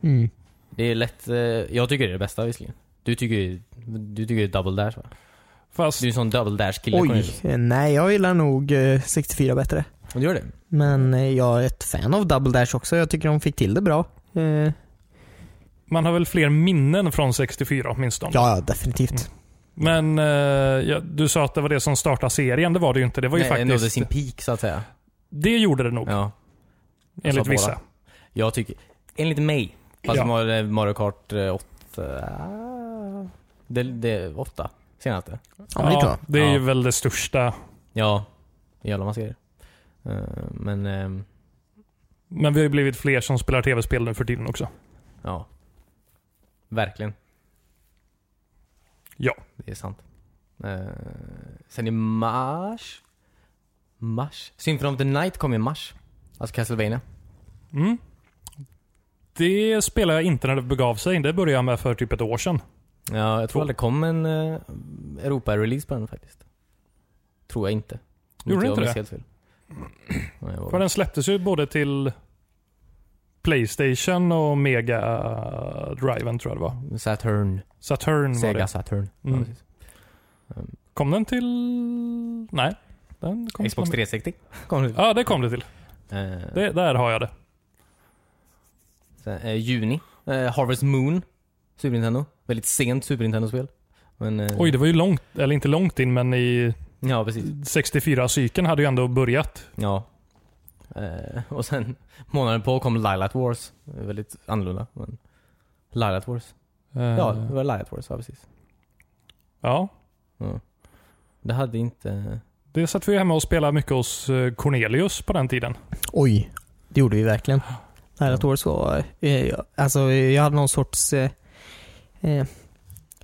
Speaker 1: Mm.
Speaker 3: Det är lätt, eh, jag tycker det är det bästa visserligen. Du tycker ju, du tycker ju double dash va?
Speaker 2: Fast
Speaker 3: Du är en sån double dash kille
Speaker 1: Oj, eh, nej jag gillar nog eh, 64 bättre.
Speaker 3: Du gör det?
Speaker 1: Men eh, jag är ett fan av Double Dash också. Jag tycker de fick till det bra. Eh, ja,
Speaker 2: man har väl fler minnen från 64 åtminstone.
Speaker 1: ja, definitivt.
Speaker 2: Men eh, ja, du sa att det var det som startade serien. Det var det ju inte. Det var ju
Speaker 3: Nej,
Speaker 2: faktiskt...
Speaker 3: nådde sin peak så att säga.
Speaker 2: Det gjorde det nog,
Speaker 3: Ja.
Speaker 2: enligt
Speaker 3: sa båda.
Speaker 2: vissa.
Speaker 3: Jag tycker, enligt mig, fast
Speaker 2: Ja.
Speaker 3: Mario- Mario Kart 8... Det, det 8 senaste.
Speaker 1: Ja, men det tror jag.
Speaker 2: det är ju
Speaker 3: Ja.
Speaker 2: väl det största.
Speaker 3: Ja, jävla massa grejer. Eh, Men, ehm,
Speaker 2: Men vi har ju blivit fler som spelar tv-spel nu för tiden också.
Speaker 3: ja. Verkligen.
Speaker 2: Ja.
Speaker 3: Det är sant. Eh, sen i mars... Mars? Symphony of the Night kom i mars. Alltså Castlevania.
Speaker 2: Mm. Det spelade jag inte när det begav sig. Det började jag med för typ ett år sedan.
Speaker 3: Ja, jag tror aldrig det kom en eh, Europa-release på den faktiskt. Tror jag inte.
Speaker 2: Gjorde det
Speaker 3: jag
Speaker 2: inte
Speaker 3: minns
Speaker 2: det?
Speaker 3: Helt fel. Nej, jag var-
Speaker 2: För den släpptes ju både till Playstation och Mega Driven tror jag det var.
Speaker 3: Saturn.
Speaker 2: Saturn var
Speaker 3: Sega
Speaker 2: det.
Speaker 3: Saturn.
Speaker 2: Mm.
Speaker 3: Ja, precis.
Speaker 2: Kom den till... Nej. Den kom
Speaker 3: Xbox
Speaker 2: till...
Speaker 3: 360. Kom det.
Speaker 2: Ja, det kom det till.
Speaker 3: Eh,
Speaker 2: Det, där har jag det.
Speaker 3: Sen, eh, juni. Eh, Harvest Moon. Super Nintendo. Väldigt sent Super Nintendo-spel. Men, eh,
Speaker 2: Oj, det var ju långt, eller inte långt in, men i
Speaker 3: Ja, precis.
Speaker 2: 64-cykeln hade ju ändå börjat.
Speaker 3: Ja. Eh, och sen månaden på kom Lilat Wars. Eh, Väldigt annorlunda. Men Lilat Wars.
Speaker 2: Eh,
Speaker 3: Ja, det var Lilat Wars. Ja, precis.
Speaker 2: ja.
Speaker 3: Ja. Det hade inte...
Speaker 2: Det satt vi hemma och spelade mycket hos eh, Cornelius på den tiden.
Speaker 1: Oj, det gjorde vi verkligen. Det här året så, eh, jag- alltså jag hade någon sorts, eh, eh, jag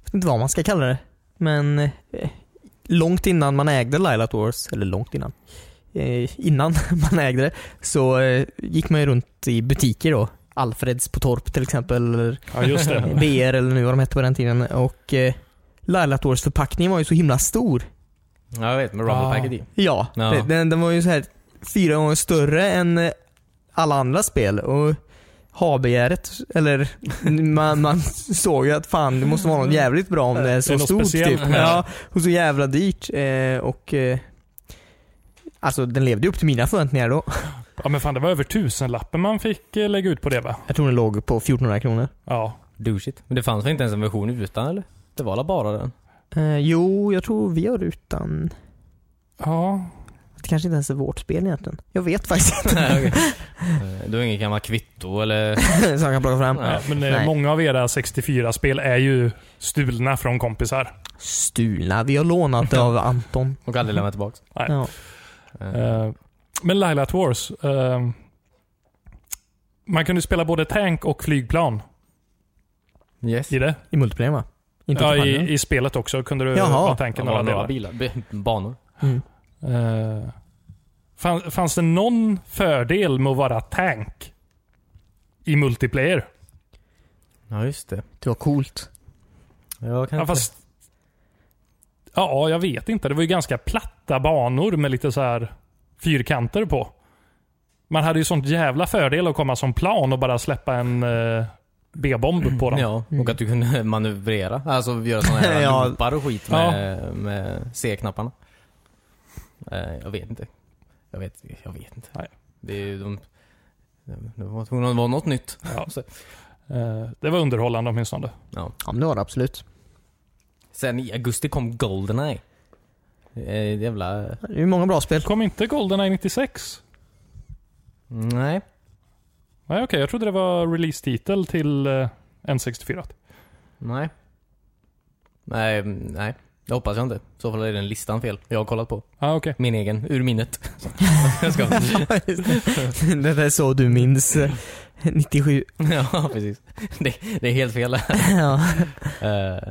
Speaker 1: vet inte vad man ska kalla det, men eh, långt innan man ägde Lilat Wars, eller långt innan, eh, innan man ägde det, så eh, gick man ju runt i butiker då. Alfreds på Torp till exempel, eller
Speaker 2: Ja, just det.
Speaker 1: BR eller nu vad de hette på den tiden. Och eh, Lilat Wars förpackningen var ju så himla stor.
Speaker 3: Ja, jag vet. Med
Speaker 2: Ah.
Speaker 3: Rumble Packet i.
Speaker 1: Ja,
Speaker 3: Ja.
Speaker 1: det- Den, den var ju så här fyra gånger större än eh, alla andra spel och ha-begäret, eller man, man såg ju att fan det måste vara något jävligt bra om det är
Speaker 2: Det är
Speaker 1: så
Speaker 2: något
Speaker 1: stort typ.
Speaker 2: speciellt med det.
Speaker 1: Ja, och så jävla dyrt eh, och eh, Alltså den levde ju upp till mina förväntningar då.
Speaker 2: Ja, men fan, det var över tusenlappen man fick eh, lägga ut på det va?
Speaker 1: Jag tror den låg på 1400 kronor.
Speaker 2: Ja.
Speaker 3: Douchigt. Men det fanns väl inte ens en version utan, eller? Det var alla bara den?
Speaker 1: Eh, jo, jag tror vi har utan...
Speaker 2: Ja.
Speaker 1: Det kanske inte ens är vårt spel egentligen. Jag vet faktiskt inte.
Speaker 3: Nej, okej. Eh, Du har inget gammalt kvitto eller?
Speaker 1: Som jag kan plocka fram.
Speaker 3: Nej.
Speaker 2: Nej, men eh,
Speaker 1: Nej.
Speaker 2: många av era 64-spel är ju stulna från kompisar.
Speaker 1: Stulna. Vi har lånat det av Anton.
Speaker 3: Och aldrig lämnat tillbaks.
Speaker 2: Nej.
Speaker 1: Ja.
Speaker 3: Eh,
Speaker 2: Eh, men Laila at Wars. Eh, man kunde spela både tank och flygplan
Speaker 3: yes.
Speaker 2: i det.
Speaker 1: I multiplayer va? Inte
Speaker 2: Ja,
Speaker 1: kampanjen.
Speaker 2: i, I spelet också kunde du
Speaker 1: Jaha.
Speaker 2: ha
Speaker 3: Det
Speaker 2: tanken
Speaker 3: var
Speaker 2: alla
Speaker 3: några
Speaker 2: delar.
Speaker 3: bilar. B- banor.
Speaker 1: Mm.
Speaker 2: Eh, fann, fanns det någon fördel med att vara tank i multiplayer?
Speaker 3: Ja, just det.
Speaker 1: Det var coolt.
Speaker 3: Jag kan
Speaker 2: Ja,
Speaker 3: inte-
Speaker 2: fast... Ja, jag vet inte. Det var ju ganska platta banor med lite så här fyrkanter på. Man hade ju sånt jävla fördel att komma som plan och bara släppa en eh, B-bomb på dem.
Speaker 3: Ja, och
Speaker 1: Mm.
Speaker 3: att du kunde manövrera. Alltså göra sådana här
Speaker 1: Ja.
Speaker 3: loopar och skit med, med C-knapparna. Eh, jag vet inte. Jag vet, jag vet inte.
Speaker 2: Nej.
Speaker 3: Det är ju de... Det var tvungen att vara något nytt.
Speaker 2: Ja. Eh, det var underhållande åtminstone.
Speaker 1: Ja men det var det absolut.
Speaker 3: Sen i augusti kom Goldeneye. Eh, jävla...
Speaker 1: Det är ju många bra spel.
Speaker 2: Kom inte Goldeneye 96?
Speaker 3: Nej.
Speaker 2: Nej, okej. jag trodde det var release-titel till eh, N64.
Speaker 3: Nej. Nej, nej. Det hoppas jag inte. I så fall är den listan fel. Jag har kollat på.
Speaker 2: Ah, okej.
Speaker 3: Min egen, ur minnet. jag ska.
Speaker 1: det där är så du minns eh, 97.
Speaker 3: ja, precis. Det, det är helt fel.
Speaker 1: ja.
Speaker 3: Eh,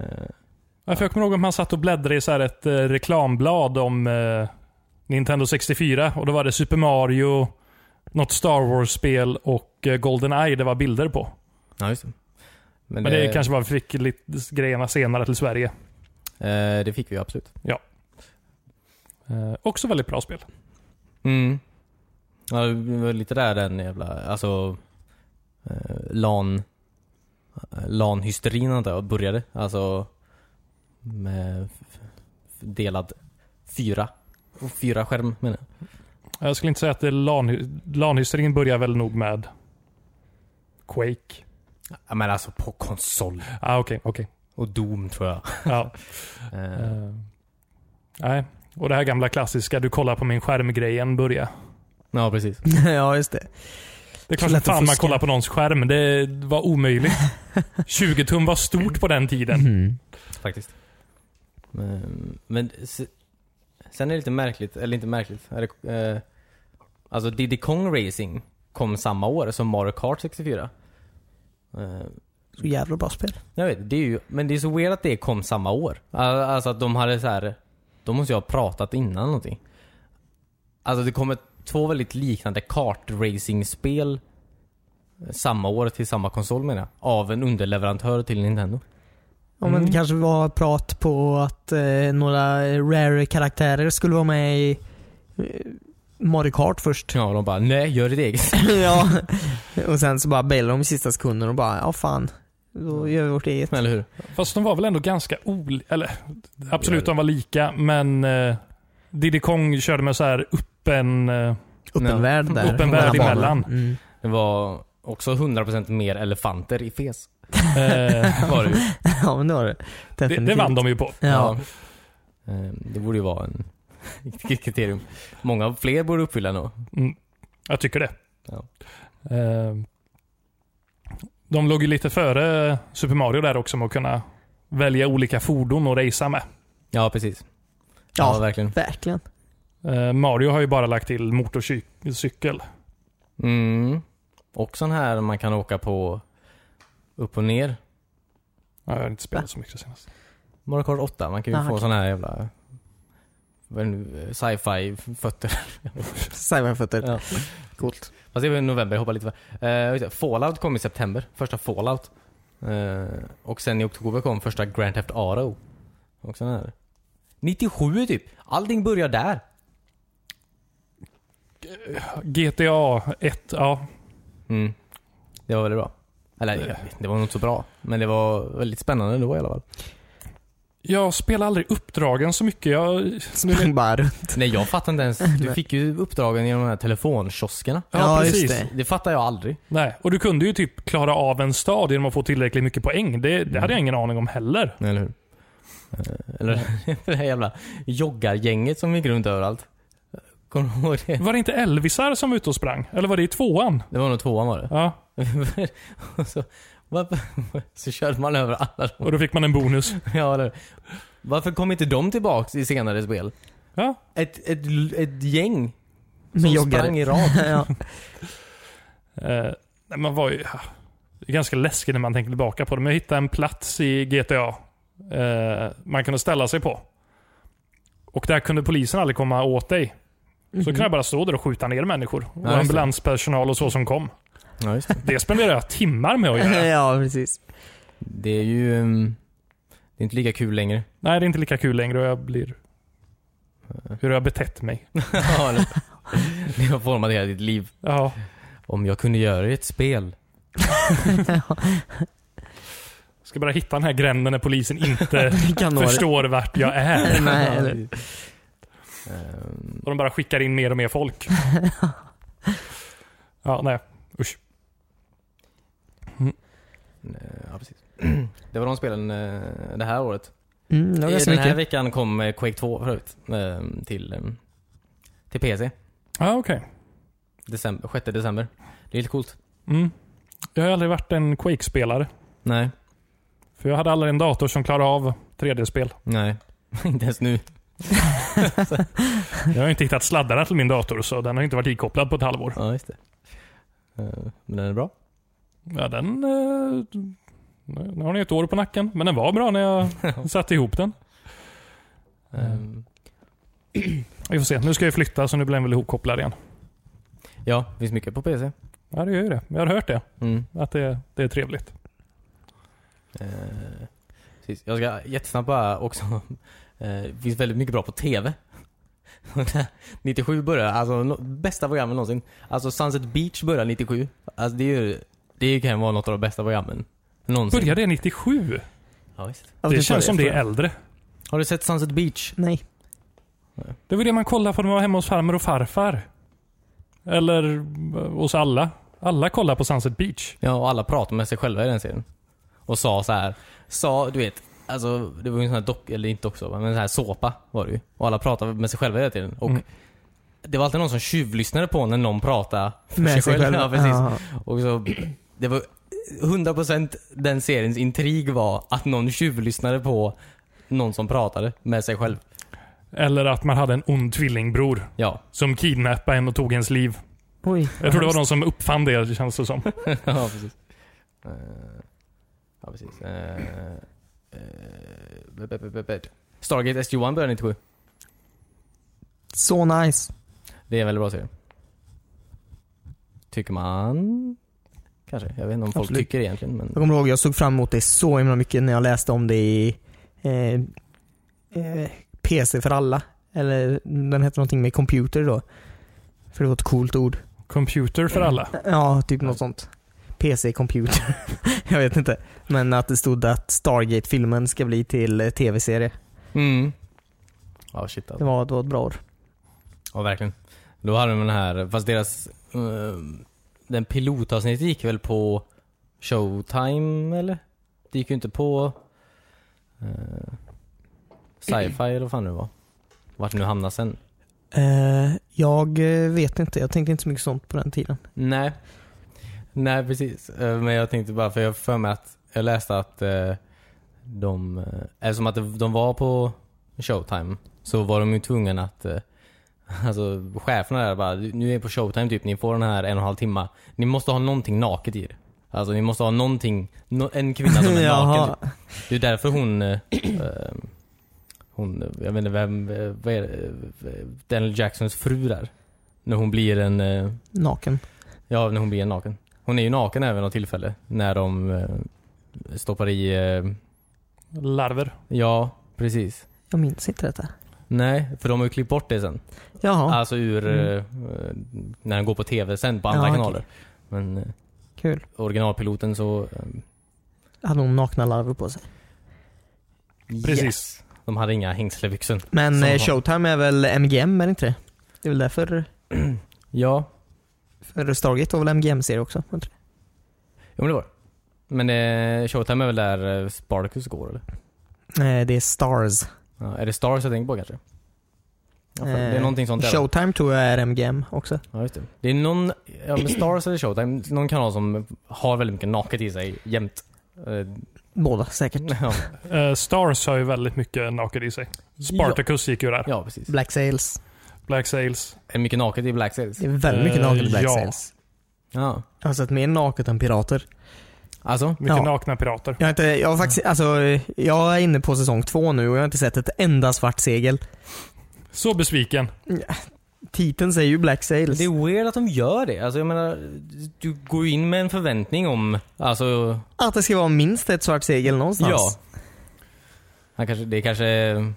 Speaker 2: Ja, för jag kommer ihåg att man satt och bläddrade i så här ett eh, reklamblad om eh, Nintendo 64 och då var det Super Mario, något Star Wars-spel och eh, Goldeneye det var bilder på.
Speaker 3: Ja, just det. Men,
Speaker 2: Men det, kanske bara fick lite grejerna senare till Sverige.
Speaker 3: eh, det fick vi ju absolut.
Speaker 2: Eh, också väldigt bra spel.
Speaker 3: Mm. Ja, det var lite där den jävla, alltså eh, LAN, eh, LAN-hysterin antar jag började. Alltså med f- f- delad fyra, och fyra skärm menar jag.
Speaker 2: Jag skulle inte säga att det är LAN- LAN-hysterin börjar väl nog med Quake.
Speaker 3: Ja, men alltså på konsol.
Speaker 2: Ah, okej, okej.
Speaker 3: Och Doom tror jag.
Speaker 2: Ja.
Speaker 3: Eh,
Speaker 2: Eh, nej. Och det här gamla klassiska, du kollar på min skärm-grejen börja.
Speaker 3: ja, precis.
Speaker 1: ja just det.
Speaker 2: Det är klart
Speaker 1: Lätt
Speaker 2: som
Speaker 1: att
Speaker 2: fan man
Speaker 1: fuska.
Speaker 2: kollar på någons skärm. Det var omöjligt. 20 tum var stort på den tiden.
Speaker 1: Mm.
Speaker 3: Faktiskt. Men, men se- sen är det lite märkligt, eller inte märkligt. Är det, eh, alltså Diddy Kong Racing kom samma år som Mario Kart 64. Eh,
Speaker 1: Så jävla bra spel.
Speaker 3: Jag vet, det är ju, men det är så weird att det kom samma år. Al- Alltså att de hade så här. De måste ju ha pratat innan någonting. Alltså det kommer två väldigt liknande kartracing-spel samma år till samma konsol menar jag. Av en underleverantör till Nintendo.
Speaker 1: Ja, men
Speaker 2: Mm.
Speaker 1: det kanske var prat på att eh, några rare-karaktärer skulle vara med i eh, Mario Kart först.
Speaker 3: Ja, och de bara nej, gör ditt eget.
Speaker 1: ja. Och sen så bara bailade de i sista sekunden och bara, ja fan. Då gör vi vårt eget.
Speaker 3: Eller hur?
Speaker 2: Fast de var väl ändå ganska olika, eller absolut de var lika, men eh, Diddy Kong körde med så här öppen... Eh,
Speaker 1: Öppen
Speaker 3: Ja.
Speaker 1: värld där.
Speaker 2: Öppen
Speaker 1: mellan
Speaker 2: värld
Speaker 1: banorna.
Speaker 2: emellan.
Speaker 1: Mm.
Speaker 3: Det var också 100% mer elefanter i Fes.
Speaker 2: eh,
Speaker 3: Var det, ju.
Speaker 1: Ja men det var det.
Speaker 2: det, det vann de ju på.
Speaker 1: Ja. ja.
Speaker 3: Ja. Eh, Det borde ju vara en ett kriterium. Många fler borde uppfylla nog.
Speaker 2: Mm. Jag tycker det.
Speaker 3: Ja.
Speaker 2: Eh, de låg ju lite före Super Mario där också med att kunna välja olika fordon och racea med.
Speaker 3: Ja, precis. ja verkligen.
Speaker 1: verkligen.
Speaker 2: Eh, Mario har ju bara lagt till motorcykel.
Speaker 3: Mm. Och sån här man kan åka på upp och ner.
Speaker 2: Jag har inte spelat så mycket senast.
Speaker 3: Mario Kart 8, man kan ju
Speaker 1: Ah,
Speaker 3: få
Speaker 1: okej.
Speaker 3: sån här jävla vad är det nu? sci-fi fötter.
Speaker 1: Cyberfötter.
Speaker 3: Ja.
Speaker 1: Coolt.
Speaker 3: Fast det var i november, jag hoppar lite. för- Eh, just det, Fallout kom i september, första Fallout. Eh, och sen i oktober kom första Grand Theft Auto. Och sån här. 97 typ! Allting börjar där.
Speaker 2: GTA 1, ja.
Speaker 3: Mm. Det var väldigt bra. Eller jag vet inte, det var nog inte så bra. Men det var väldigt spännande då i alla fall.
Speaker 2: Jag spelar aldrig uppdragen så mycket. Jag,
Speaker 1: Sprang bara runt.
Speaker 3: Nej jag fattar inte ens. Du fick ju uppdragen genom de här telefonkioskerna.
Speaker 2: Ja, precis.
Speaker 1: det.
Speaker 3: Det fattar jag aldrig.
Speaker 2: nej. Och du kunde ju typ klara av en stad genom att få tillräckligt mycket poäng. Det, det hade jag ingen aning om heller.
Speaker 3: Eller hur? Eh, Eller det här jävla joggargänget som gick runt överallt. Kommer du ihåg det?
Speaker 2: Var det inte Elvisar som var ute och sprang? Eller var det i tvåan?
Speaker 3: Det var nog tvåan var det.
Speaker 2: Ja.
Speaker 3: Och så, varför, så körde man över alla dem.
Speaker 2: Och då fick man en bonus.
Speaker 3: Ja, eller, varför kom inte de tillbaks i senare spel?
Speaker 2: Ja.
Speaker 3: Ett, ett, ett gäng
Speaker 1: Med
Speaker 3: som
Speaker 1: joggare.
Speaker 3: sprang i rad.
Speaker 1: ja.
Speaker 2: Eh, nej, man var ju... ja, Det är ganska läskigt när man tänker tillbaka på det. Men jag hittade en plats i GTA eh, man kunde ställa sig på. Och där kunde polisen aldrig komma åt dig. Så kunde jag bara stå där och skjuta ner människor. Och
Speaker 3: Mm. just det.
Speaker 2: ambulanspersonal och så som kom.
Speaker 3: Ja, just det.
Speaker 2: Det spenderade jag timmar med att göra.
Speaker 1: Mm. ja, precis.
Speaker 3: det är ju... ehm, Det är inte lika kul längre.
Speaker 2: Nej, det är inte lika kul längre och jag blir... Hur har jag betett mig?
Speaker 3: Ja, eller- Det har format hela ditt liv.
Speaker 2: Ja.
Speaker 3: Om jag kunde göra ett spel.
Speaker 2: Ska bara hitta den här gränden när polisen inte
Speaker 1: Kan nå det.
Speaker 2: förstår vart jag är.
Speaker 1: Nej, eller,
Speaker 3: Ehm,
Speaker 2: Och de bara skickar in mer och mer folk. Ja, nej. Usch.
Speaker 3: Eh, Ja, precis. Det var de spelen eh, det här året.
Speaker 1: mm, det var
Speaker 3: Eh,
Speaker 1: ganska
Speaker 3: Den här
Speaker 1: mycket.
Speaker 3: veckan kom eh, Quake 2 förut eh, till, eh, till PC.
Speaker 2: Ja, okej.
Speaker 3: December, 6 december. Det är lite coolt.
Speaker 2: Mm. Jag har aldrig varit en Quake-spelare.
Speaker 3: Nej.
Speaker 2: För jag hade aldrig en dator som klarade av 3D-spel.
Speaker 3: Nej. Inte ens nu.
Speaker 2: Jag har inte hittat sladdarna till min dator, så den har inte varit ikopplad på ett halvår.
Speaker 3: Ja, just det. Eh, Men den är bra.
Speaker 2: Ja, den... Eh, nu har ni ett år på nacken, men den var bra när jag satte ihop den.
Speaker 1: Mm.
Speaker 3: Eh,
Speaker 2: Vi får se. Nu ska jag flytta, så nu blir den väl ihopkopplad igen.
Speaker 3: Ja, det finns mycket på PC.
Speaker 2: Ja, det gör ju det. Jag har hört det.
Speaker 3: Mm.
Speaker 2: Att det, det är trevligt.
Speaker 3: Eh, Precis. Jag ska jättesnabbt bara också. eh, Det finns väldigt mycket bra på TV. 97 börjar, alltså no, bästa programmen någonsin. Alltså Sunset Beach börjar 97. Alltså det är ju, det kan ju vara något av de bästa programmen någonsin.
Speaker 2: Började det 97?
Speaker 3: Ja, visst.
Speaker 1: Ja,
Speaker 2: Det
Speaker 1: var
Speaker 2: känns
Speaker 1: det.
Speaker 2: som det är äldre.
Speaker 3: Har du sett Sunset Beach?
Speaker 1: Nej.
Speaker 2: Det var det man kollade på när man var hemma hos farmor och farfar. Eller eh, hos alla. Alla kollar på Sunset Beach.
Speaker 3: Ja, och alla pratar med sig själva i den serien. Och sa så här. sa, du vet, alltså det var ju en sån här dock, eller inte dock men en sån här såpa var det ju. Och alla pratade med sig själva hela tiden. Och
Speaker 2: Mm.
Speaker 3: det var alltid någon som tjuvlyssnade på när någon pratade för
Speaker 1: Med sig själv.
Speaker 3: Ja, precis. Och så, det var 100% den seriens intrig var att någon tjuvlyssnade på någon som pratade med sig själv.
Speaker 2: Eller att man hade en ond tvillingbror
Speaker 3: Ja.
Speaker 2: som kidnappade en och tog ens liv.
Speaker 1: Oj.
Speaker 2: Jag tror det var de som uppfann det, känns det som.
Speaker 3: ja precis. Eh, Ja, precis. Eh, eh, be- be- be- be- Stargate SG-1 började 97.
Speaker 1: Så nice.
Speaker 3: Det är en väldigt bra serie. Tycker man? Kanske. Jag vet inte om folk
Speaker 1: Absolut.
Speaker 3: tycker egentligen. Men...
Speaker 1: Jag kommer ihåg, jag såg fram emot det så himla mycket när jag läste om det i eh, eh, PC för alla. Eller den hette någonting med computer då. För det var ett coolt ord.
Speaker 2: Computer för alla.
Speaker 1: Ja, typ något sånt. PC-computer. jag vet inte. Men att det stod att Stargate-filmen ska bli till eh, tv-serie.
Speaker 3: Mm. Ja, shit
Speaker 1: Det
Speaker 3: alltså.
Speaker 1: var, det var ett bra ord.
Speaker 3: Ja, verkligen. Då hade de den här, fast deras... eh, den pilotavsnittet gick väl på Showtime, eller? Det gick ju inte på... eh, sci-fi eller vad fan det var. Vart det nu hamnar sen.
Speaker 1: Eh, jag eh, vet inte. Jag tänkte inte så mycket sånt på den tiden.
Speaker 3: Nej. Nej, precis. Eh, Men jag tänkte bara, för jag har för mig att jag läste att eh, de, eh, eftersom att de var på Showtime, så var de ju tvungna att, eh, alltså cheferna där bara, nu är ni på Showtime typ, ni får den här en och en halv timma. Ni måste ha någonting naket i det. Alltså ni måste ha någonting, nå- en kvinna som är naken.
Speaker 1: Jaha.
Speaker 3: Typ. Det är därför hon, eh, eh, hon, jag vet inte vem, eh, vad är det, eh, Daniel Jacksons fru där. När hon blir en eh,
Speaker 1: Naken.
Speaker 3: Ja, när hon blir naken. Hon är ju naken även av tillfälle. När de eh, stoppar i... Eh,
Speaker 2: Larver.
Speaker 3: ja, precis.
Speaker 1: Jag minns inte detta.
Speaker 3: Nej, för de har ju klippt bort det sen.
Speaker 1: Jaha,
Speaker 3: Alltså ur... Eh, när den går på TV sen på andra
Speaker 1: Ja, Mm. Ah, okej.
Speaker 3: kanaler. Men eh,
Speaker 1: kul.
Speaker 3: originalpiloten så... Eh,
Speaker 1: Hade hon nakna larver på sig.
Speaker 2: Precis.
Speaker 3: yes. De hade inga hängslebyxor.
Speaker 1: Men
Speaker 3: Som
Speaker 1: eh,
Speaker 3: har-
Speaker 1: Showtime är väl MGM, är det inte det? Det är väl därför
Speaker 3: Ja,
Speaker 1: för Stargate var väl MGM-serie också? var det inte det?
Speaker 3: jo men det var det. Men eh, Showtime är väl där eh, Spartacus går eller?
Speaker 1: Eh, det är Stars.
Speaker 3: Ja, är det Stars jag tänker på kanske? Ja, för, det är
Speaker 1: Eh,
Speaker 3: någonting sånt där. va?
Speaker 1: Showtime tror jag är MGM också.
Speaker 3: Ja, just det. Det är någon, ja, men Stars eller Showtime, någon kanal som har väldigt mycket naket i sig jämt. Eh,
Speaker 1: Båda säkert.
Speaker 3: ja,
Speaker 2: Eh, Stars har ju väldigt mycket naket i sig. Spartacus gick ju där.
Speaker 3: ja, precis.
Speaker 1: Black Sails.
Speaker 2: Black Sails.
Speaker 3: Är det mycket naket i Black Sails?
Speaker 1: Det är väldigt mycket
Speaker 2: Eh,
Speaker 1: naket i Black
Speaker 2: ja.
Speaker 1: Sails.
Speaker 3: Ja.
Speaker 1: Jag har sett mer naket än pirater.
Speaker 3: Alltså?
Speaker 2: Mycket
Speaker 1: Ja.
Speaker 2: nakna pirater.
Speaker 1: Jag, har inte, jag, har faktiskt, alltså, eh, jag är inne på säsong två nu och jag har inte sett ett enda svart segel.
Speaker 2: Så besviken.
Speaker 1: Titeln säger ju Black Sails.
Speaker 3: Det är weird att de gör det. Alltså jag menar, du går ju in med en förväntning om, alltså,
Speaker 1: Att det ska vara minst ett svart segel någonstans.
Speaker 3: ja. Han kanske, det är kanske eh,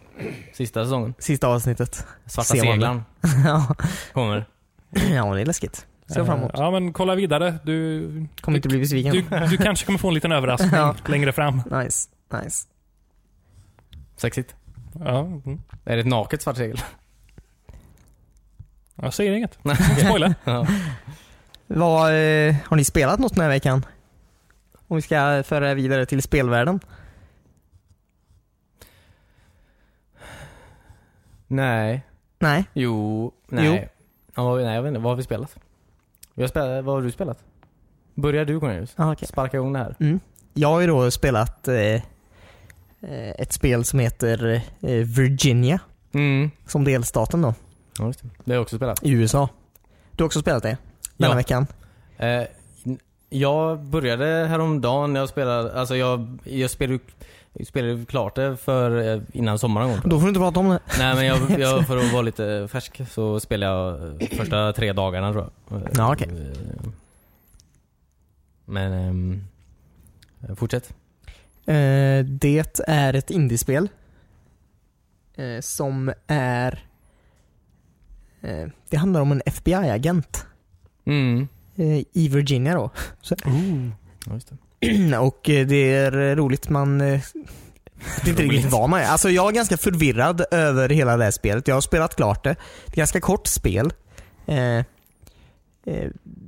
Speaker 3: sista säsongen.
Speaker 1: Sista avsnittet.
Speaker 3: Svarta
Speaker 1: Ser man det?
Speaker 3: seglan
Speaker 1: ja,
Speaker 3: kommer.
Speaker 1: Ja, det är läskigt. Ser jag fram emot.
Speaker 2: Eh, Ja, men kolla vidare. Du,
Speaker 1: Kommer inte bli besviken.
Speaker 2: du, du kanske kommer få en liten överraskning
Speaker 1: Ja.
Speaker 2: längre fram.
Speaker 1: Nice, nice.
Speaker 3: Sexigt.
Speaker 2: Ja. mm.
Speaker 3: Är det ett naket svart segel?
Speaker 2: Jag säger inget.
Speaker 3: Nej, okej.
Speaker 2: Spoiler.
Speaker 3: Ja.
Speaker 1: Vad, eh, har ni spelat något den här veckan? Om vi ska föra det vidare till spelvärlden.
Speaker 3: Nej.
Speaker 1: Nej.
Speaker 3: Jo, nej. Ja, vad- nej jag vet inte, vad har vi spelat? Vi har spelat vad har du spelat? Börjar du Cornelius?
Speaker 1: Ah, okej.
Speaker 3: Sparka igång det här.
Speaker 1: Jag har ju då spelat eh, eh, ett spel som heter eh, Virginia,
Speaker 3: Mm.
Speaker 1: som delstaten då,
Speaker 3: Ja, just det. det har jag också spelat.
Speaker 1: i USA. Du har också spelat det? Denna
Speaker 3: Ja.
Speaker 1: veckan?
Speaker 3: Eh, n- jag började häromdagen, jag spelade, alltså jag, jag spelade, ju- jag spelade ju klart det för eh, innan sommaren går.
Speaker 1: Då får du inte prata om det.
Speaker 3: Nej men jag, jag, för att vara lite färsk så spelade jag eh, första tre dagarna tror jag. Eh,
Speaker 1: Ja, okej.
Speaker 3: eh, Men, ehm, fortsätt.
Speaker 1: Eh, det är ett indiespel. Eh, som är... Eh, det handlar om en FBI-agent
Speaker 3: Mm.
Speaker 1: eh, i Virginia då.
Speaker 3: Ja, just det.
Speaker 1: Och eh, det är roligt, man... eh, Det är inte
Speaker 3: Roligt.
Speaker 1: riktigt vad man är. Alltså jag är ganska förvirrad över hela det här spelet. Jag har spelat klart det. Det är ganska kort spel. Eh, eh,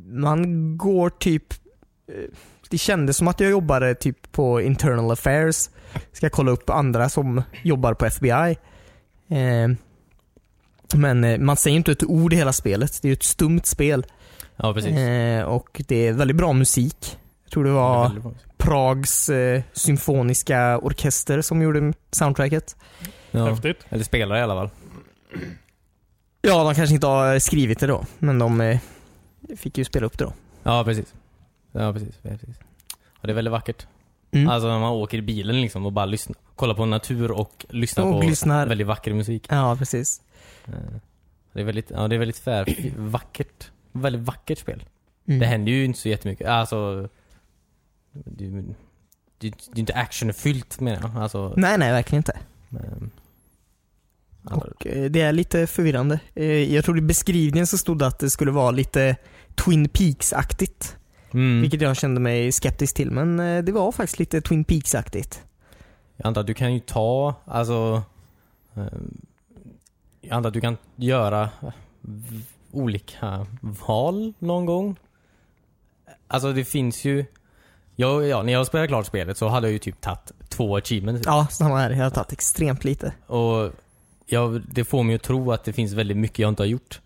Speaker 1: man går typ... eh, Det kändes som att jag jobbade typ på internal affairs. Ska kolla upp andra som jobbar på FBI. Eh, men eh, man säger inte ett ord i hela spelet. Det är ju ett stumt spel.
Speaker 3: Ja precis.
Speaker 1: Eh, och det är väldigt bra musik. Jag tror det var...
Speaker 3: Det är väldigt bra.
Speaker 1: Prags eh, symfoniska orkester som gjorde soundtracket.
Speaker 3: Ja.
Speaker 2: Häftigt.
Speaker 3: Eller spelare i alla fall.
Speaker 1: Ja, de kanske inte har skrivit det då, men de eh, fick ju spela upp det då.
Speaker 3: Ja, precis. Ja, precis. precis. Ja, det är väldigt vackert.
Speaker 1: Mm.
Speaker 3: Alltså när man åker i bilen liksom och bara lyssnar. Kollar på natur och lyssnar
Speaker 1: Och
Speaker 3: på
Speaker 1: lyssnar.
Speaker 3: väldigt vacker musik.
Speaker 1: Ja, precis.
Speaker 3: Eh, Det är väldigt, ja, det är väldigt fär, vackert. Väldigt vackert spel.
Speaker 1: Mm.
Speaker 3: Det händer ju inte så jättemycket. Alltså, det, är ju- det, är- det är inte actionfyllt menar jag. Alltså,
Speaker 1: Nej, nej, verkligen inte.
Speaker 3: ehm, alla-
Speaker 1: Och, eh, Det är lite förvirrande. Eh, Jag tror i beskrivningen så stod det att det skulle vara lite Twin Peaks-aktigt.
Speaker 3: mm.
Speaker 1: Vilket jag kände mig skeptisk till, men eh, det var faktiskt lite Twin Peaks-aktigt.
Speaker 3: Jag antar att du kan ju ta, alltså... ehm, Jag antar att du kan göra v- olika val någon gång. Alltså det finns ju... Jag, ja, när jag spelade klart spelet så hade jag ju typ tagit två achievements.
Speaker 1: Ja, samma här. Jag har tagit extremt lite.
Speaker 3: Och jag, det får mig att tro att det finns väldigt mycket jag inte har gjort.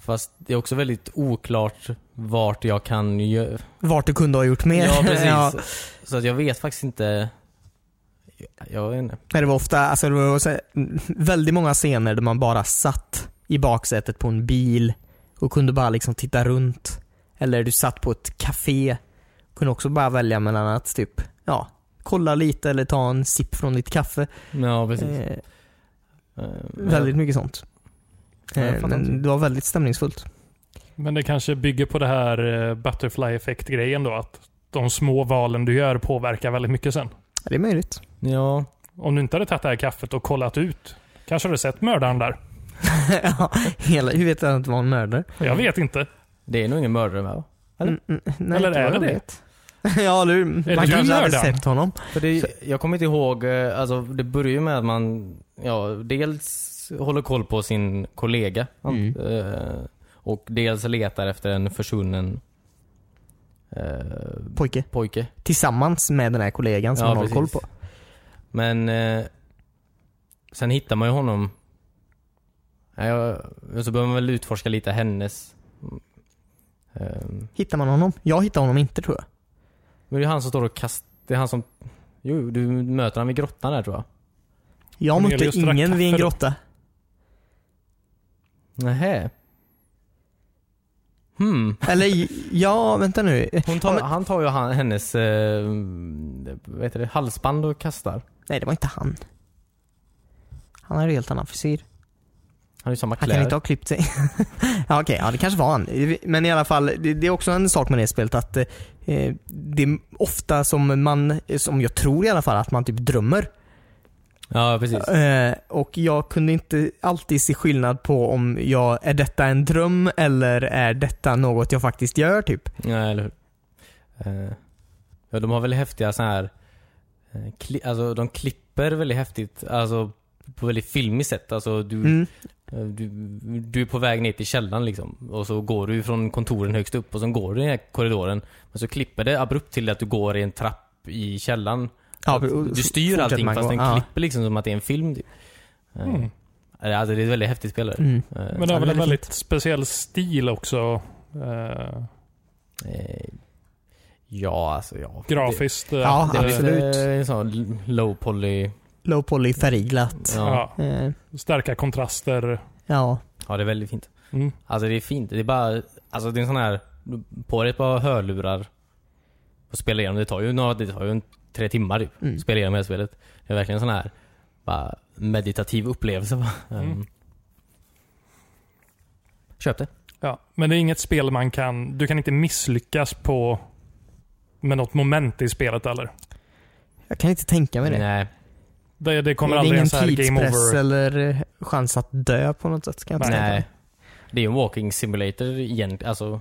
Speaker 3: Fast det är också väldigt oklart vart jag kan göra...
Speaker 1: Vart du kunde ha gjort mer.
Speaker 3: Ja, precis.
Speaker 1: Ja.
Speaker 3: Så att jag vet faktiskt inte... Jag, jag vet inte.
Speaker 1: Nej, Det var ofta, alltså det var så här, mm, väldigt många scener där man bara satt i baksätet på en bil och kunde bara liksom titta runt. Eller du satt på ett café. Kunde också bara välja mellan att typ, ja, kolla lite eller ta en sipp från ditt kaffe.
Speaker 3: Ja, precis.
Speaker 1: Eh,
Speaker 3: Ehm, men-
Speaker 1: väldigt mycket sånt.
Speaker 3: Ja, jag
Speaker 1: Eh,
Speaker 3: fattar inte.
Speaker 1: men det var väldigt stämningsfullt.
Speaker 2: Men det kanske bygger på det här eh, butterfly effect-grejen då. Att de små valen du gör påverkar väldigt mycket sen.
Speaker 1: Ja, det är möjligt.
Speaker 3: Ja,
Speaker 2: Om du inte hade tagit det här kaffet och kollat ut, kanske har du sett mördaren där?
Speaker 1: ja, hela, hur vet jag att det var en mördare?
Speaker 3: Mm.
Speaker 2: Jag vet inte.
Speaker 3: det är nog ingen mördare va? Eller?
Speaker 1: Mm, mm, nej,
Speaker 2: Eller
Speaker 1: inte
Speaker 2: är
Speaker 1: vad jag
Speaker 2: det det?
Speaker 1: vet. ja, eller hur?
Speaker 2: det
Speaker 1: Man
Speaker 2: du
Speaker 1: kanske hade
Speaker 2: mördaren?
Speaker 1: sett honom.
Speaker 3: För det, jag kommer inte ihåg, eh, alltså det börjar ju med att man, ja, dels håller koll på sin kollega
Speaker 1: Mm.
Speaker 3: eh, och dels letar efter en försvunnen eh,
Speaker 1: Pojke.
Speaker 3: pojke.
Speaker 1: Tillsammans med den här kollegan som
Speaker 3: Ja,
Speaker 1: man har
Speaker 3: precis.
Speaker 1: koll på.
Speaker 3: Men eh, sen hittar man ju honom. Ja, jag- så börjar man väl utforska lite hennes. Eh,
Speaker 1: Hittar man honom? Jag hittar honom inte tror jag.
Speaker 3: men det är han som står och kastar, det är han som, jo du möter han vid grottan där tror jag.
Speaker 1: Jag
Speaker 2: Cornelius
Speaker 1: mötte
Speaker 2: drack
Speaker 1: ingen vid en
Speaker 2: kaffe då.
Speaker 1: grotta.
Speaker 3: Nähä. Hmm.
Speaker 1: Eller j- ja, vänta nu.
Speaker 3: Hon
Speaker 1: Ja,
Speaker 3: tar,
Speaker 1: men-
Speaker 3: han tar ju han, hennes eh, vad heter det, halsband och kastar.
Speaker 1: Nej, det var inte han. Han har ju helt annan frisyr.
Speaker 3: Han har ju samma
Speaker 1: Han
Speaker 3: kläder.
Speaker 1: kan inte ha klippt sig. ja, okej. ja, det kanske var han. Men i alla fall, det, det är också en sak med det spelet att eh, det är ofta som man, som jag tror i alla fall, att man typ drömmer.
Speaker 3: Ja, precis.
Speaker 1: Eh, och jag kunde inte alltid se skillnad på om jag, är detta en dröm eller är detta något jag faktiskt gör typ.
Speaker 3: Ja, eller hur. Eh, ja, de har väldigt häftiga sådana här, eh, kli, alltså de klipper väldigt häftigt, alltså på väldigt filmiskt sätt. Alltså du,
Speaker 1: Mm.
Speaker 3: eh, du, du är på väg ner till källaren liksom och så går du från kontoren högst upp och så går du i den här korridoren. Men så klipper det abrupt till att du går i en trapp i källaren.
Speaker 1: Ja, och-
Speaker 3: du styr
Speaker 1: fortsätter
Speaker 3: allting
Speaker 1: man gå.
Speaker 3: fast den
Speaker 1: Ja.
Speaker 3: klipper liksom som att det är en film. Typ. Eh,
Speaker 2: Mm.
Speaker 3: Alltså det är ett väldigt häftigt spel.
Speaker 1: Mm.
Speaker 3: Eh,
Speaker 2: Men det
Speaker 1: Ja,
Speaker 2: har väl
Speaker 1: det är
Speaker 2: en väldigt
Speaker 1: fint.
Speaker 2: speciell stil också. Eh,
Speaker 3: eh, Ja, alltså ja.
Speaker 2: grafiskt. eh,
Speaker 1: Ja,
Speaker 2: det-
Speaker 3: Det, det är
Speaker 1: absolut.
Speaker 3: lite, eh, en sån low poly.
Speaker 1: Low poly färgglatt.
Speaker 3: Ja.
Speaker 2: Ja,
Speaker 1: Eh,
Speaker 2: starka kontraster.
Speaker 1: ja.
Speaker 3: ja, det är väldigt fint.
Speaker 2: Mm.
Speaker 3: Alltså det är fint. Det är bara, alltså det är en sån här, på dig ett par hörlurar och spela igenom. Det tar ju några, det tar ju en, tre timmar typ.
Speaker 1: Mm.
Speaker 3: Spela igenom hela spelet. Det är verkligen en sån här, bara meditativ upplevelse. va?
Speaker 2: Mm.
Speaker 3: Ehm. Köp det.
Speaker 2: Ja, men det är inget spel man kan... Du kan inte misslyckas på med något moment i spelet eller?
Speaker 1: Jag kan inte tänka mig det.
Speaker 3: Nej.
Speaker 2: Det, det
Speaker 1: det
Speaker 2: kommer
Speaker 1: är
Speaker 2: aldrig
Speaker 1: ingen
Speaker 2: en så här game
Speaker 1: tidspress
Speaker 2: over.
Speaker 1: eller eh, chans att dö på något sätt. Kan jag inte tänka
Speaker 3: Nej.
Speaker 1: mig.
Speaker 3: Det är ju en walking simulator egentligen. Alltså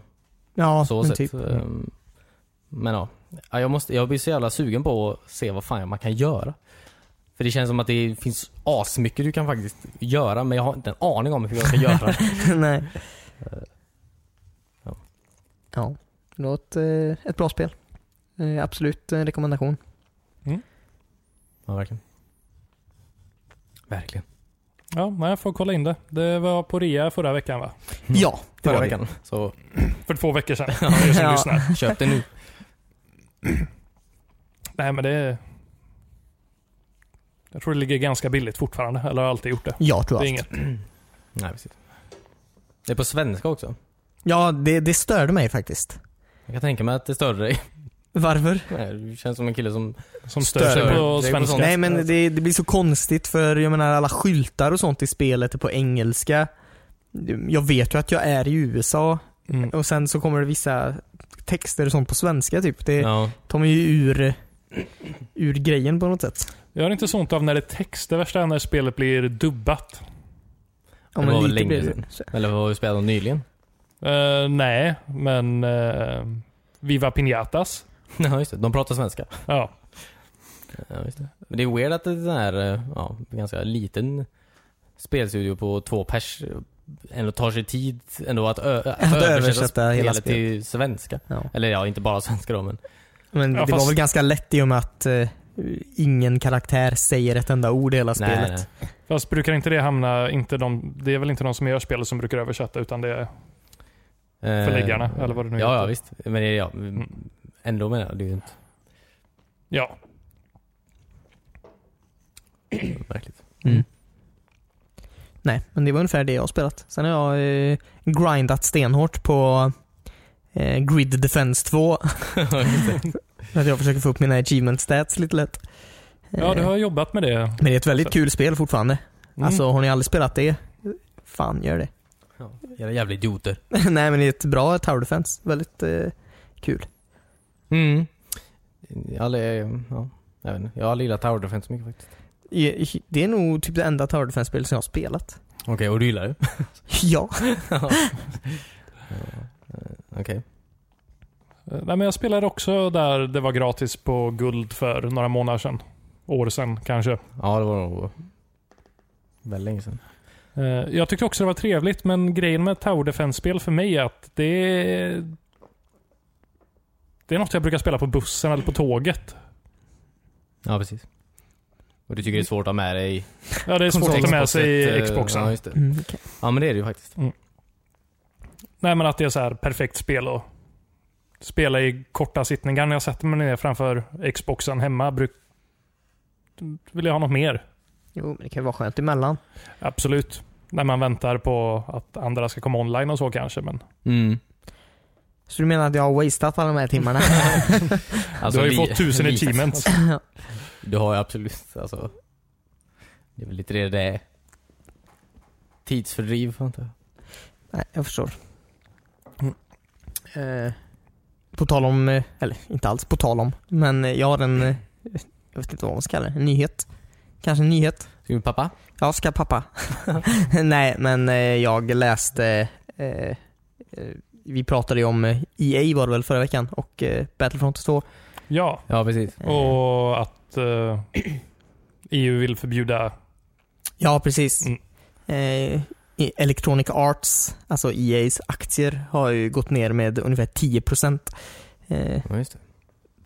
Speaker 1: Ja,
Speaker 3: så
Speaker 1: men
Speaker 3: sätt.
Speaker 1: typ.
Speaker 3: Ehm, Men ja. ja jag, måste, jag blir så jävla sugen på att se vad fan man kan göra. För det känns som att det finns asmycket du kan faktiskt göra men jag har inte en aning om hur jag ska göra.
Speaker 1: Nej.
Speaker 3: ja.
Speaker 1: Ja. Något, eh, ett bra spel. Eh, absolut en rekommendation.
Speaker 3: ja, verkligen. Verkligen.
Speaker 2: Ja, nej, jag får kolla in det. Det var på rea förra veckan va?
Speaker 3: Mm.
Speaker 1: Ja, det
Speaker 3: Förra
Speaker 1: var det.
Speaker 3: veckan. Så
Speaker 2: För två veckor sedan. För er som
Speaker 1: Ja.
Speaker 2: lyssnar.
Speaker 3: köp det nu.
Speaker 2: Nej, men det... Jag tror det ligger ganska billigt fortfarande. Eller har alltid gjort det.
Speaker 1: Jag tror
Speaker 2: Det är
Speaker 1: att
Speaker 2: inget.
Speaker 3: Nej precis. Det är på svenska också.
Speaker 1: Ja, det, det störde mig faktiskt.
Speaker 3: Jag kan tänka mig att det störde dig.
Speaker 1: Varför?
Speaker 3: Nej, du känns som en kille som...
Speaker 2: Som stör
Speaker 1: Stör.
Speaker 2: sig på
Speaker 3: Det är på sånt. Alltså.
Speaker 2: svenska.
Speaker 1: Nej men det, det blir så konstigt för jag menar alla skyltar och sånt i spelet är på engelska. Jag vet ju att jag är i USA
Speaker 2: Mm.
Speaker 1: och sen så kommer det vissa texter och sånt på svenska typ. Det,
Speaker 3: Ja.
Speaker 1: De är ju ur, ur grejen på något sätt.
Speaker 2: Jag har inte så ont av när det är text. Det värsta är när spelet blir dubbat.
Speaker 1: Ja,
Speaker 3: Det
Speaker 1: men
Speaker 3: var väl
Speaker 1: lite
Speaker 3: länge
Speaker 1: blir det.
Speaker 3: Eller vad har vi spelat om nyligen?
Speaker 2: Eh, nej, men eh, Viva Pinatas.
Speaker 3: Ja, just det. De pratar svenska.
Speaker 2: Ja.
Speaker 3: Ja, just det. Men det är weird att det är den här, eh, ja, ganska liten spelstudio på två pers eh, ändå tar sig tid ändå att, ö- att översätta,
Speaker 1: översätta hela
Speaker 3: spelet till svenska.
Speaker 1: Ja.
Speaker 3: Eller ja, inte bara svenska då men.
Speaker 1: Men
Speaker 2: Ja,
Speaker 1: det
Speaker 2: fast-
Speaker 1: var väl ganska lätt i och med att eh, ingen karaktär säger ett enda ord i hela spelet.
Speaker 3: Nej,
Speaker 2: Fast brukar inte det hamna, inte de, det är väl inte de som gör spelet som brukar översätta utan det är,
Speaker 3: nej. Eh,
Speaker 2: Förläggarna, eller vad det nu
Speaker 3: ja,
Speaker 2: heter.
Speaker 3: Ja, visst. Men det är- ja, ändå menar jag, det är ju inte
Speaker 2: ja.
Speaker 3: märkligt.
Speaker 1: Nej, men det var ungefär det jag har spelat. Sen har jag eh, grindat stenhårt på eh, Grid Defense 2. För att jag försöker få upp mina achievement stats lite lätt.
Speaker 2: Ja, du
Speaker 1: Eh,
Speaker 2: har jobbat med det. Mm.
Speaker 1: Men det är ett väldigt
Speaker 2: Så. Mm.
Speaker 1: kul spel fortfarande. Alltså, har ni aldrig spelat det? Fan, gör det.
Speaker 3: Ja, jävla, jävla idioter.
Speaker 1: Nej, men det är ett bra Tower Defense. Väldigt eh, kul.
Speaker 3: Mm. Jag, har aldrig, eh, ja, jag, vet inte. jag har aldrig gillat Tower Defense så mycket faktiskt.
Speaker 1: I- Det är nog typ det enda Tower Defense-spelet som jag har spelat.
Speaker 3: Okej, och du gillar det?
Speaker 1: Ja.
Speaker 3: Ja. Eh, Okej.
Speaker 2: Eh, Nej, men jag spelade också där det var gratis på guld för några månader sedan. År sedan kanske.
Speaker 3: Ja, det var nog väldigt länge sedan.
Speaker 2: Eh, Jag tyckte också det var trevligt, men grejen med Tower Defense-spel för mig är att det är... Det är något jag brukar spela på bussen eller på tåget.
Speaker 3: Ja, precis. Och du tycker det är svårt att ha med dig
Speaker 2: Ja, det är svårt att ta med sig i
Speaker 3: Xboxet, eh,
Speaker 2: Xboxen.
Speaker 3: Ja, just det.
Speaker 1: Mm, okej.
Speaker 3: ja, men det är det ju faktiskt.
Speaker 2: Nej, men att det är så här perfekt spel att spela i korta sittningar. När jag sätter mig ner framför Xboxen hemma bruk... vill jag ha något mer.
Speaker 1: Jo, men det kan ju vara skönt emellan.
Speaker 2: Absolut. När man väntar på att andra ska komma online och så kanske. Men
Speaker 3: Mm.
Speaker 1: Så du menar att jag har wasteat alla de här timmarna?
Speaker 3: Alltså,
Speaker 2: du har ju
Speaker 3: li-
Speaker 2: fått tusen
Speaker 3: lite.
Speaker 2: achievements.
Speaker 3: Du har ju absolut, alltså. Det är väl lite det det är. Tidsfördriv, antar jag.
Speaker 1: Nej, jag förstår.
Speaker 2: Mm.
Speaker 1: Eh, på tal om, eh, eller inte alls på tal om, men eh, jag har en, eh, jag vet inte vad man ska kalla det, en nyhet. Kanske en nyhet.
Speaker 3: Ska vi pappa?
Speaker 1: Ja, ska pappa. Nej, men eh, jag läste, eh, eh, vi pratade ju om eh, EA var det väl förra veckan och eh, Battlefront 2.
Speaker 2: Ja,
Speaker 3: Ja, precis.
Speaker 1: Eh,
Speaker 2: och att eh, EU vill förbjuda
Speaker 1: Ja, precis.
Speaker 2: Mm.
Speaker 1: Eh, i- Electronic Arts, alltså EAs aktier, har ju gått ner med ungefär 10% eh,
Speaker 3: Ja, just det.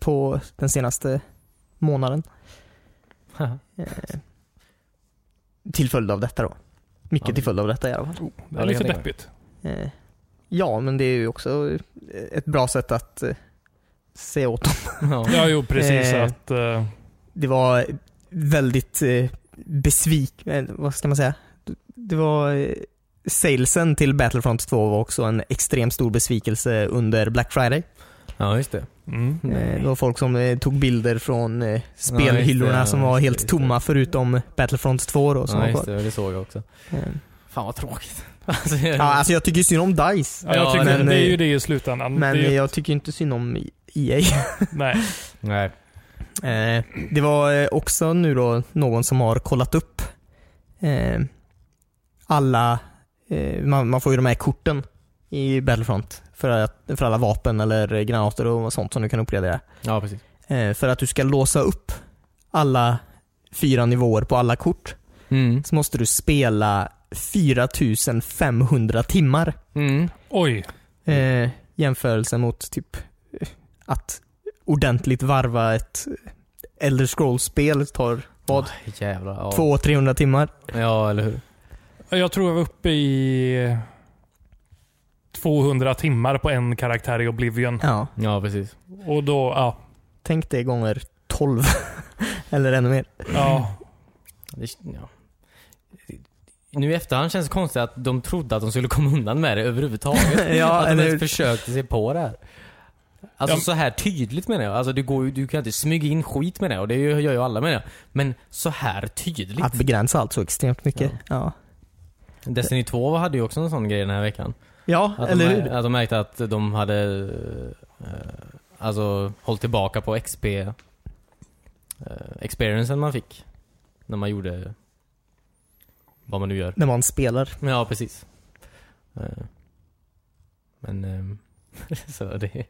Speaker 1: på den senaste månaden. Eh, till följd av detta då. Mycket
Speaker 3: Ja.
Speaker 1: till följd av detta i alla fall.
Speaker 2: Oh, Det
Speaker 3: Ja,
Speaker 2: är
Speaker 3: det
Speaker 2: lite
Speaker 3: kan jag
Speaker 2: deppigt.
Speaker 1: Eh, ja, men det är ju också ett bra sätt att eh, se åt dem.
Speaker 3: ja.
Speaker 2: Ja, jo precis.
Speaker 1: Eh.
Speaker 2: Att, eh,
Speaker 1: Det var väldigt eh, besvik... Eh, vad ska man säga? Det var... Eh, salesen till Battlefront 2 var också en extremt stor besvikelse under Black Friday.
Speaker 3: ja, just det.
Speaker 2: mm.
Speaker 1: Eh, Det var folk som eh, tog bilder från eh,
Speaker 3: Ja,
Speaker 1: spelhyllorna
Speaker 3: just det,
Speaker 1: som
Speaker 3: ja,
Speaker 1: var
Speaker 3: just det,
Speaker 1: helt
Speaker 3: just det.
Speaker 1: tomma förutom Battlefront 2 då. Som
Speaker 3: Ja,
Speaker 1: var
Speaker 3: just
Speaker 1: kvar.
Speaker 3: det. Det såg jag också.
Speaker 1: Eh,
Speaker 3: Fan vad tråkigt. Alltså,
Speaker 1: Ja, alltså jag tycker ju synd om DICE.
Speaker 2: ja, jag
Speaker 3: Ja,
Speaker 2: tycker
Speaker 1: men,
Speaker 2: det är ju
Speaker 1: eh,
Speaker 2: det i slutändan.
Speaker 1: Men
Speaker 2: det är ju,
Speaker 1: jag tycker ju inte synd om EA.
Speaker 2: nej.
Speaker 3: Nej.
Speaker 1: Eh, Det var eh, också nu då någon som har kollat upp eh, alla, eh, man, man får ju de här korten i Battlefront för, att, för alla vapen eller granater och sånt som du kan uppgradera.
Speaker 3: Ja, precis.
Speaker 1: Eh, För att du ska låsa upp alla fyra nivåer på alla kort
Speaker 3: Mm.
Speaker 1: så måste du spela 4500 timmar.
Speaker 3: Mm.
Speaker 2: Oj,
Speaker 1: Eh, jämförelse mot typ eh, att ordentligt varva ett eh, Elder Scrolls-spel tar vad?
Speaker 3: Åh, jävlar. Ja.
Speaker 1: 200-300 timmar.
Speaker 3: Ja, eller hur?
Speaker 2: jag tror jag var uppe i 200 timmar på en karaktär i Oblivion.
Speaker 1: Ja,
Speaker 3: Ja, precis.
Speaker 2: Och då, ja.
Speaker 1: tänk det gånger 12. Eller ännu mer.
Speaker 2: ja.
Speaker 3: Det, ja. Nu i efterhand känns det konstigt att de trodde att de skulle komma undan med det överhuvudtaget.
Speaker 1: Ja,
Speaker 3: att de
Speaker 1: eller
Speaker 3: ens
Speaker 1: hur?
Speaker 3: försökte sig på det här. Alltså
Speaker 2: Ja.
Speaker 3: så här tydligt menar jag. Alltså, det går, ju- du kan inte smyga in skit med det och det gör ju alla menar jag. Men så här tydligt.
Speaker 1: Att begränsa allt så extremt mycket. Ja,
Speaker 3: Destiny 2 hade ju också en sån grej den här veckan.
Speaker 1: ja.
Speaker 3: Att,
Speaker 1: eller
Speaker 3: de,
Speaker 1: hur?
Speaker 3: mär- att de märkte att de hade eh, alltså hållit tillbaka på XP eh, experiencen man fick. När man gjorde vad man nu gör.
Speaker 1: När man spelar.
Speaker 3: Ja, precis. Eh, men ehm, så det...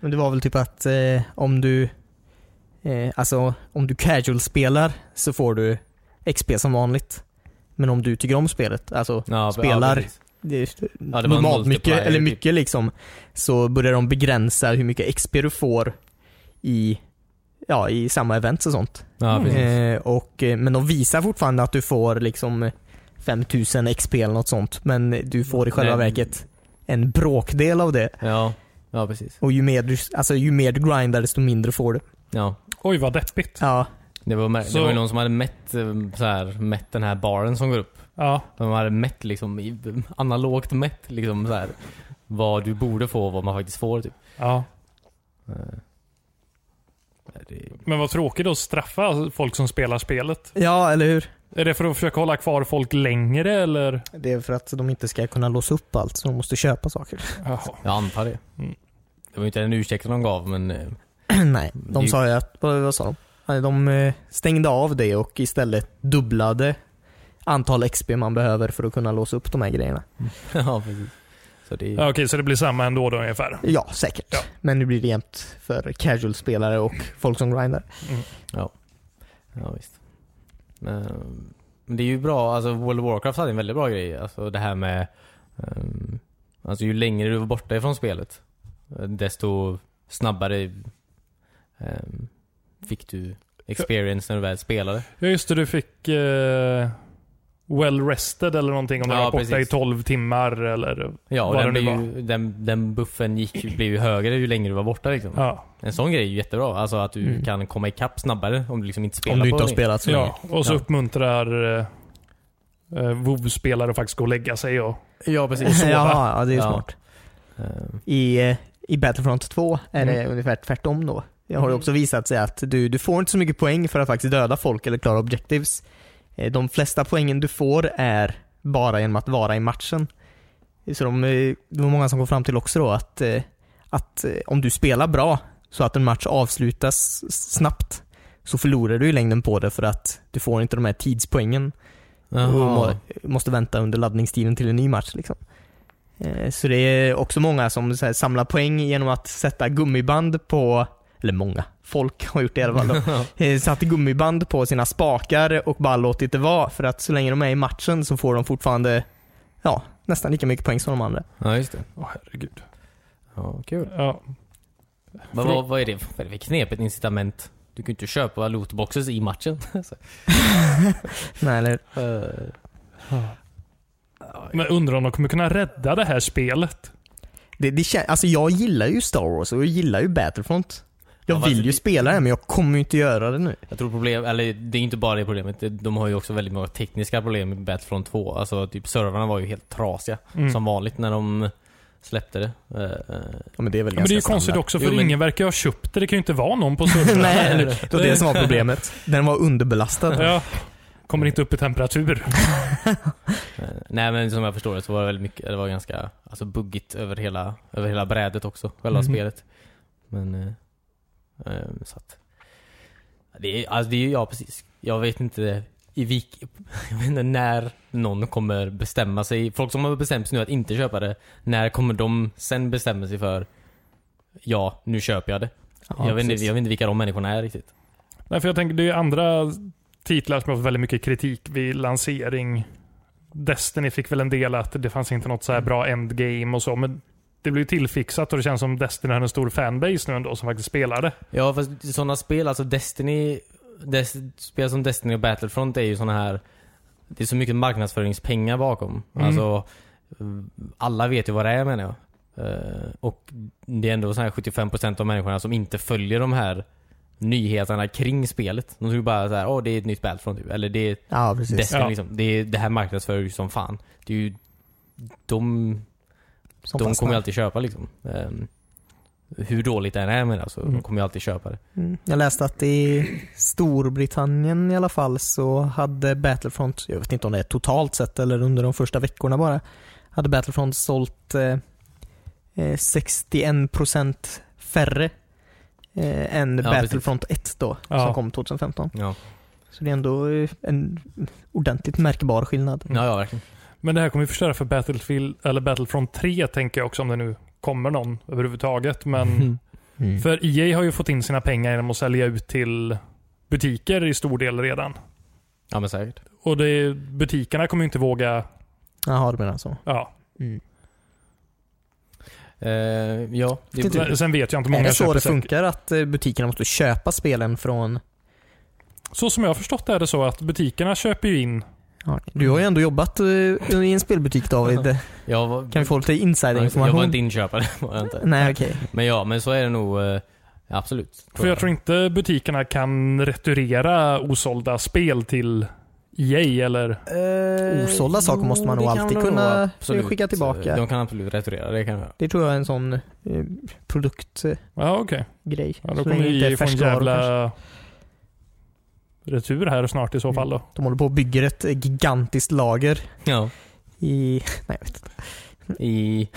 Speaker 1: Men det var väl typ att eh, om du eh, alltså om du casual-spelar så får du XP som vanligt. Men om du tycker om spelet, alltså
Speaker 3: Ja,
Speaker 1: Spelar.
Speaker 3: precis.
Speaker 1: det är
Speaker 3: var en
Speaker 1: normalt mycket,
Speaker 3: multiplier,
Speaker 1: eller
Speaker 3: typ.
Speaker 1: mycket liksom, så börjar de begränsa hur mycket XP du får i, ja, i samma events och sånt.
Speaker 2: Mm.
Speaker 3: Ja, precis.
Speaker 1: Eh, och, eh, men de visar fortfarande att du får liksom 5000 XP eller något sånt, men du får i själva
Speaker 3: Nej.
Speaker 1: verket en bråkdel av det.
Speaker 3: Ja, ja precis.
Speaker 1: Och ju mer du, alltså, ju mer du grindar desto mindre får du.
Speaker 3: Ja.
Speaker 2: Oj, vad deppigt.
Speaker 1: Ja,
Speaker 3: Det var, mär-
Speaker 2: Så-
Speaker 3: det var ju någon som hade mätt, eh, så här, mätt den här baren som går upp.
Speaker 2: Ja.
Speaker 3: De hade mätt liksom, i- analogt mätt liksom så här, vad du borde få och vad man faktiskt får typ.
Speaker 2: ja.
Speaker 3: Nej, Det,
Speaker 2: Men vad tråkigt att straffa folk som spelar spelet.
Speaker 1: ja eller hur?
Speaker 2: Är det för att försöka hålla kvar folk längre eller?
Speaker 1: Det är för att de inte ska kunna låsa upp allt, så de måste köpa saker.
Speaker 2: Jaha.
Speaker 3: jag antar det.
Speaker 2: Mm.
Speaker 3: Det var ju inte den ursäkten de gav men eh,
Speaker 1: Nej, de
Speaker 3: Det-
Speaker 1: sa ju att, vad, vad sa de? Nej, De eh, stängde av det och istället dubblade antal XP man behöver för att kunna låsa upp de här grejerna.
Speaker 3: ja precis. Så det,
Speaker 2: Ja, okej, så det blir samma ändå då ungefär.
Speaker 1: Ja, säkert.
Speaker 2: Ja.
Speaker 1: Men nu blir det jämnt för casual-spelare och folk som grindar.
Speaker 3: Ja, visst. Men, men det är ju bra, alltså World of Warcraft hade en väldigt bra grej. Alltså det här med, ehm, alltså ju längre du var borta ifrån spelet, eh, desto snabbare ehm, fick du experience när du väl spelade.
Speaker 2: Ja, just det. Du fick eh, well rested eller någonting om du
Speaker 3: Ja,
Speaker 2: var borta
Speaker 3: precis.
Speaker 2: i 12 timmar eller?
Speaker 3: Ja, och
Speaker 2: Vad
Speaker 3: den,
Speaker 2: det nu
Speaker 3: blev ju, den, den buffen gick, ju- blev ju högre ju längre du var borta liksom.
Speaker 2: Ja.
Speaker 3: En sån grej är ju jättebra, alltså att du
Speaker 1: Mm.
Speaker 3: kan komma ikapp snabbare om du liksom inte spelar
Speaker 1: Om du
Speaker 3: på
Speaker 1: inte har
Speaker 3: länge.
Speaker 1: spelat så länge.
Speaker 2: ja. Och så
Speaker 3: Ja.
Speaker 2: uppmuntrar eh, eh, WoW-spelare att faktiskt gå och lägga sig och
Speaker 3: Ja, precis.
Speaker 1: Ja,
Speaker 2: sova.
Speaker 1: ja, det är ju
Speaker 3: Ja.
Speaker 1: smart.
Speaker 3: Ehm,
Speaker 1: I, eh, I Battlefront 2 är det
Speaker 2: Mm.
Speaker 1: ungefär tvärtom då. Det har ju
Speaker 2: Mm.
Speaker 1: också visat sig att du, du får inte så mycket poäng för att faktiskt döda folk eller klara objectives. Eh, De flesta poängen du får är bara genom att vara i matchen. Så de, eh, det var många som kom fram till också då att, eh, att eh, om du spelar bra så att en match avslutas s- snabbt så förlorar du i längden på det för att du får inte de här tidspoängen och må,
Speaker 3: jaha.
Speaker 1: måste vänta under laddningstiden till en ny match. Liksom. Eh, Så det är också många som så här, samlar poäng genom att sätta gummiband på, eller många, folk har gjort det i alla fall. då. Eh, Satt gummiband på sina spakar och bara låtit det vara för att så länge de är i matchen så får de fortfarande ja, nästan lika mycket poäng som de andra.
Speaker 3: Ja, just det.
Speaker 2: Åh, herregud.
Speaker 3: Ja, kul.
Speaker 2: Ja.
Speaker 3: Men
Speaker 2: För-
Speaker 3: vad, vad är det för vad är det för knepigt incitament? Du kan ju inte köpa lootboxes i matchen. Så,
Speaker 1: Nej, eller,
Speaker 3: eh,
Speaker 2: Men undrar om de kommer kunna rädda det här spelet?
Speaker 1: det, det kän- alltså jag gillar ju Star Wars och jag gillar ju Battlefront. Jag
Speaker 3: Ja, fast
Speaker 1: vill ju
Speaker 3: det-
Speaker 1: spela det men jag kommer ju inte göra det nu.
Speaker 3: jag tror problem, eller det är inte bara det problemet. Det- De har ju också väldigt många tekniska problem med Battlefront 2. Alltså typ servrarna var ju helt trasiga.
Speaker 2: Mm.
Speaker 3: Som vanligt när de släppte det. Eh, eh,
Speaker 1: Ja, men det är väl
Speaker 2: Ja, men det är ju konstigt också för
Speaker 3: Jo, men-
Speaker 2: ingen verkar ha köpt det. Det kan ju inte vara någon på servern.
Speaker 1: Nej, eller, det var det som var problemet. Den var underbelastad.
Speaker 2: Ja. Kommer inte upp i temperatur.
Speaker 3: eh, nej men som jag förstår det så var det väldigt mycket, det var ganska alltså, buggigt över hela, över hela brädet också. Själva
Speaker 2: Mhm.
Speaker 3: spelet. Men, eh, eh, så att. Det är, alltså det är ju, ja precis. Jag vet inte i vilk, jag vet inte när någon kommer bestämma sig. Folk som har bestämt sig nu att inte köpa det, när kommer de sen bestämma sig för ja, nu köper jag det. jag, vet inte, jag vet inte vilka de människorna är riktigt.
Speaker 2: Nej, för jag tänker, det är ju andra titlar som har fått väldigt mycket kritik vid lansering. Destiny fick väl en del att det fanns inte något så här bra endgame och så, men det blev ju tillfixat och det känns som Destiny har en stor fanbase nu ändå som faktiskt spelar det.
Speaker 3: Ja fast sådana spel, alltså Destiny, Des, spel som Destiny och Battlefront är ju sådana här, det är så mycket marknadsföringspengar bakom.
Speaker 2: Mm.
Speaker 3: Alltså, alla vet ju vad det är menar jag. Eh, och det är ändå så här 75% av människorna som inte följer de här nyheterna kring spelet. De tror bara såhär, åh det är ett nytt Battlefront typ. Eller det är
Speaker 1: Ja, precis.
Speaker 3: Destiny
Speaker 2: Ja.
Speaker 3: liksom. Det, är, det här marknadsför ju som fan. Det är ju, de
Speaker 1: Som
Speaker 3: de
Speaker 1: fastnar.
Speaker 3: kommer ju alltid köpa liksom. Ehm, Hur dåligt det än är med det, så de kommer ju alltid köpa det.
Speaker 1: Mm. Jag läste att i Storbritannien i alla fall så hade Battlefront, jag vet inte om det är totalt sett eller under de första veckorna bara, hade Battlefront sålt eh, eh, 61% färre eh, än
Speaker 3: Ja,
Speaker 1: Battlefront 1 då,
Speaker 2: Ja.
Speaker 1: som kom 2015.
Speaker 3: Ja,
Speaker 1: Så det är ändå eh, en ordentligt märkbar skillnad.
Speaker 2: Mm.
Speaker 3: ja, ja verkligen.
Speaker 2: Men det här kommer ju förstöra för Battlefield, eller Battlefront 3 tänker jag också om det nu kommer någon överhuvudtaget. Men
Speaker 3: Mm.
Speaker 2: För EA har ju fått in sina pengar genom att sälja ut till butiker i stor del redan.
Speaker 3: Ja men säkert.
Speaker 2: Och det, butikerna kommer ju inte våga...
Speaker 1: Jaha, du menar så.
Speaker 2: Ja.
Speaker 3: Eh, ja, det
Speaker 1: Tyckte
Speaker 3: blir,
Speaker 1: du-
Speaker 2: Sen vet jag inte.
Speaker 1: Är typ-
Speaker 2: Många
Speaker 1: det så
Speaker 2: köper
Speaker 1: det
Speaker 2: säkert-
Speaker 1: funkar att eh, butikerna måste köpa spelen från...
Speaker 2: Så som jag har förstått det är det så att butikerna köper ju in.
Speaker 1: Ja, Du har ju ändå jobbat eh, i en spelbutik David.
Speaker 3: jag, var,
Speaker 1: Kan vi få lite
Speaker 3: jag var
Speaker 1: insiderinformation?
Speaker 3: inte inköpare, var jag inte.
Speaker 1: Nej, okej.
Speaker 3: Men ja, men så är det nog. Eh, absolut.
Speaker 2: För jag tror inte butikerna kan returera osålda spel till EA eller...
Speaker 3: Eh,
Speaker 1: Osålda saker
Speaker 3: jo,
Speaker 1: måste man
Speaker 3: det
Speaker 1: nog
Speaker 3: kan eh,
Speaker 1: alltid
Speaker 3: de
Speaker 1: kunna
Speaker 3: absolut.
Speaker 1: skicka tillbaka.
Speaker 3: De kan absolut returera, det kan de göra.
Speaker 1: Det tror jag är en sån eh, produktgrej.
Speaker 2: Ja, okej. Ja, då
Speaker 1: Så
Speaker 2: kommer
Speaker 1: länge det
Speaker 2: ju
Speaker 1: inte är
Speaker 2: EA få en
Speaker 1: färskvaror kanske. Mm.
Speaker 2: jävla retur här snart i så fall då.
Speaker 1: De håller på och bygger ett eh, gigantiskt lager
Speaker 3: Ja.
Speaker 1: i... Nej, jag vet inte.
Speaker 3: I...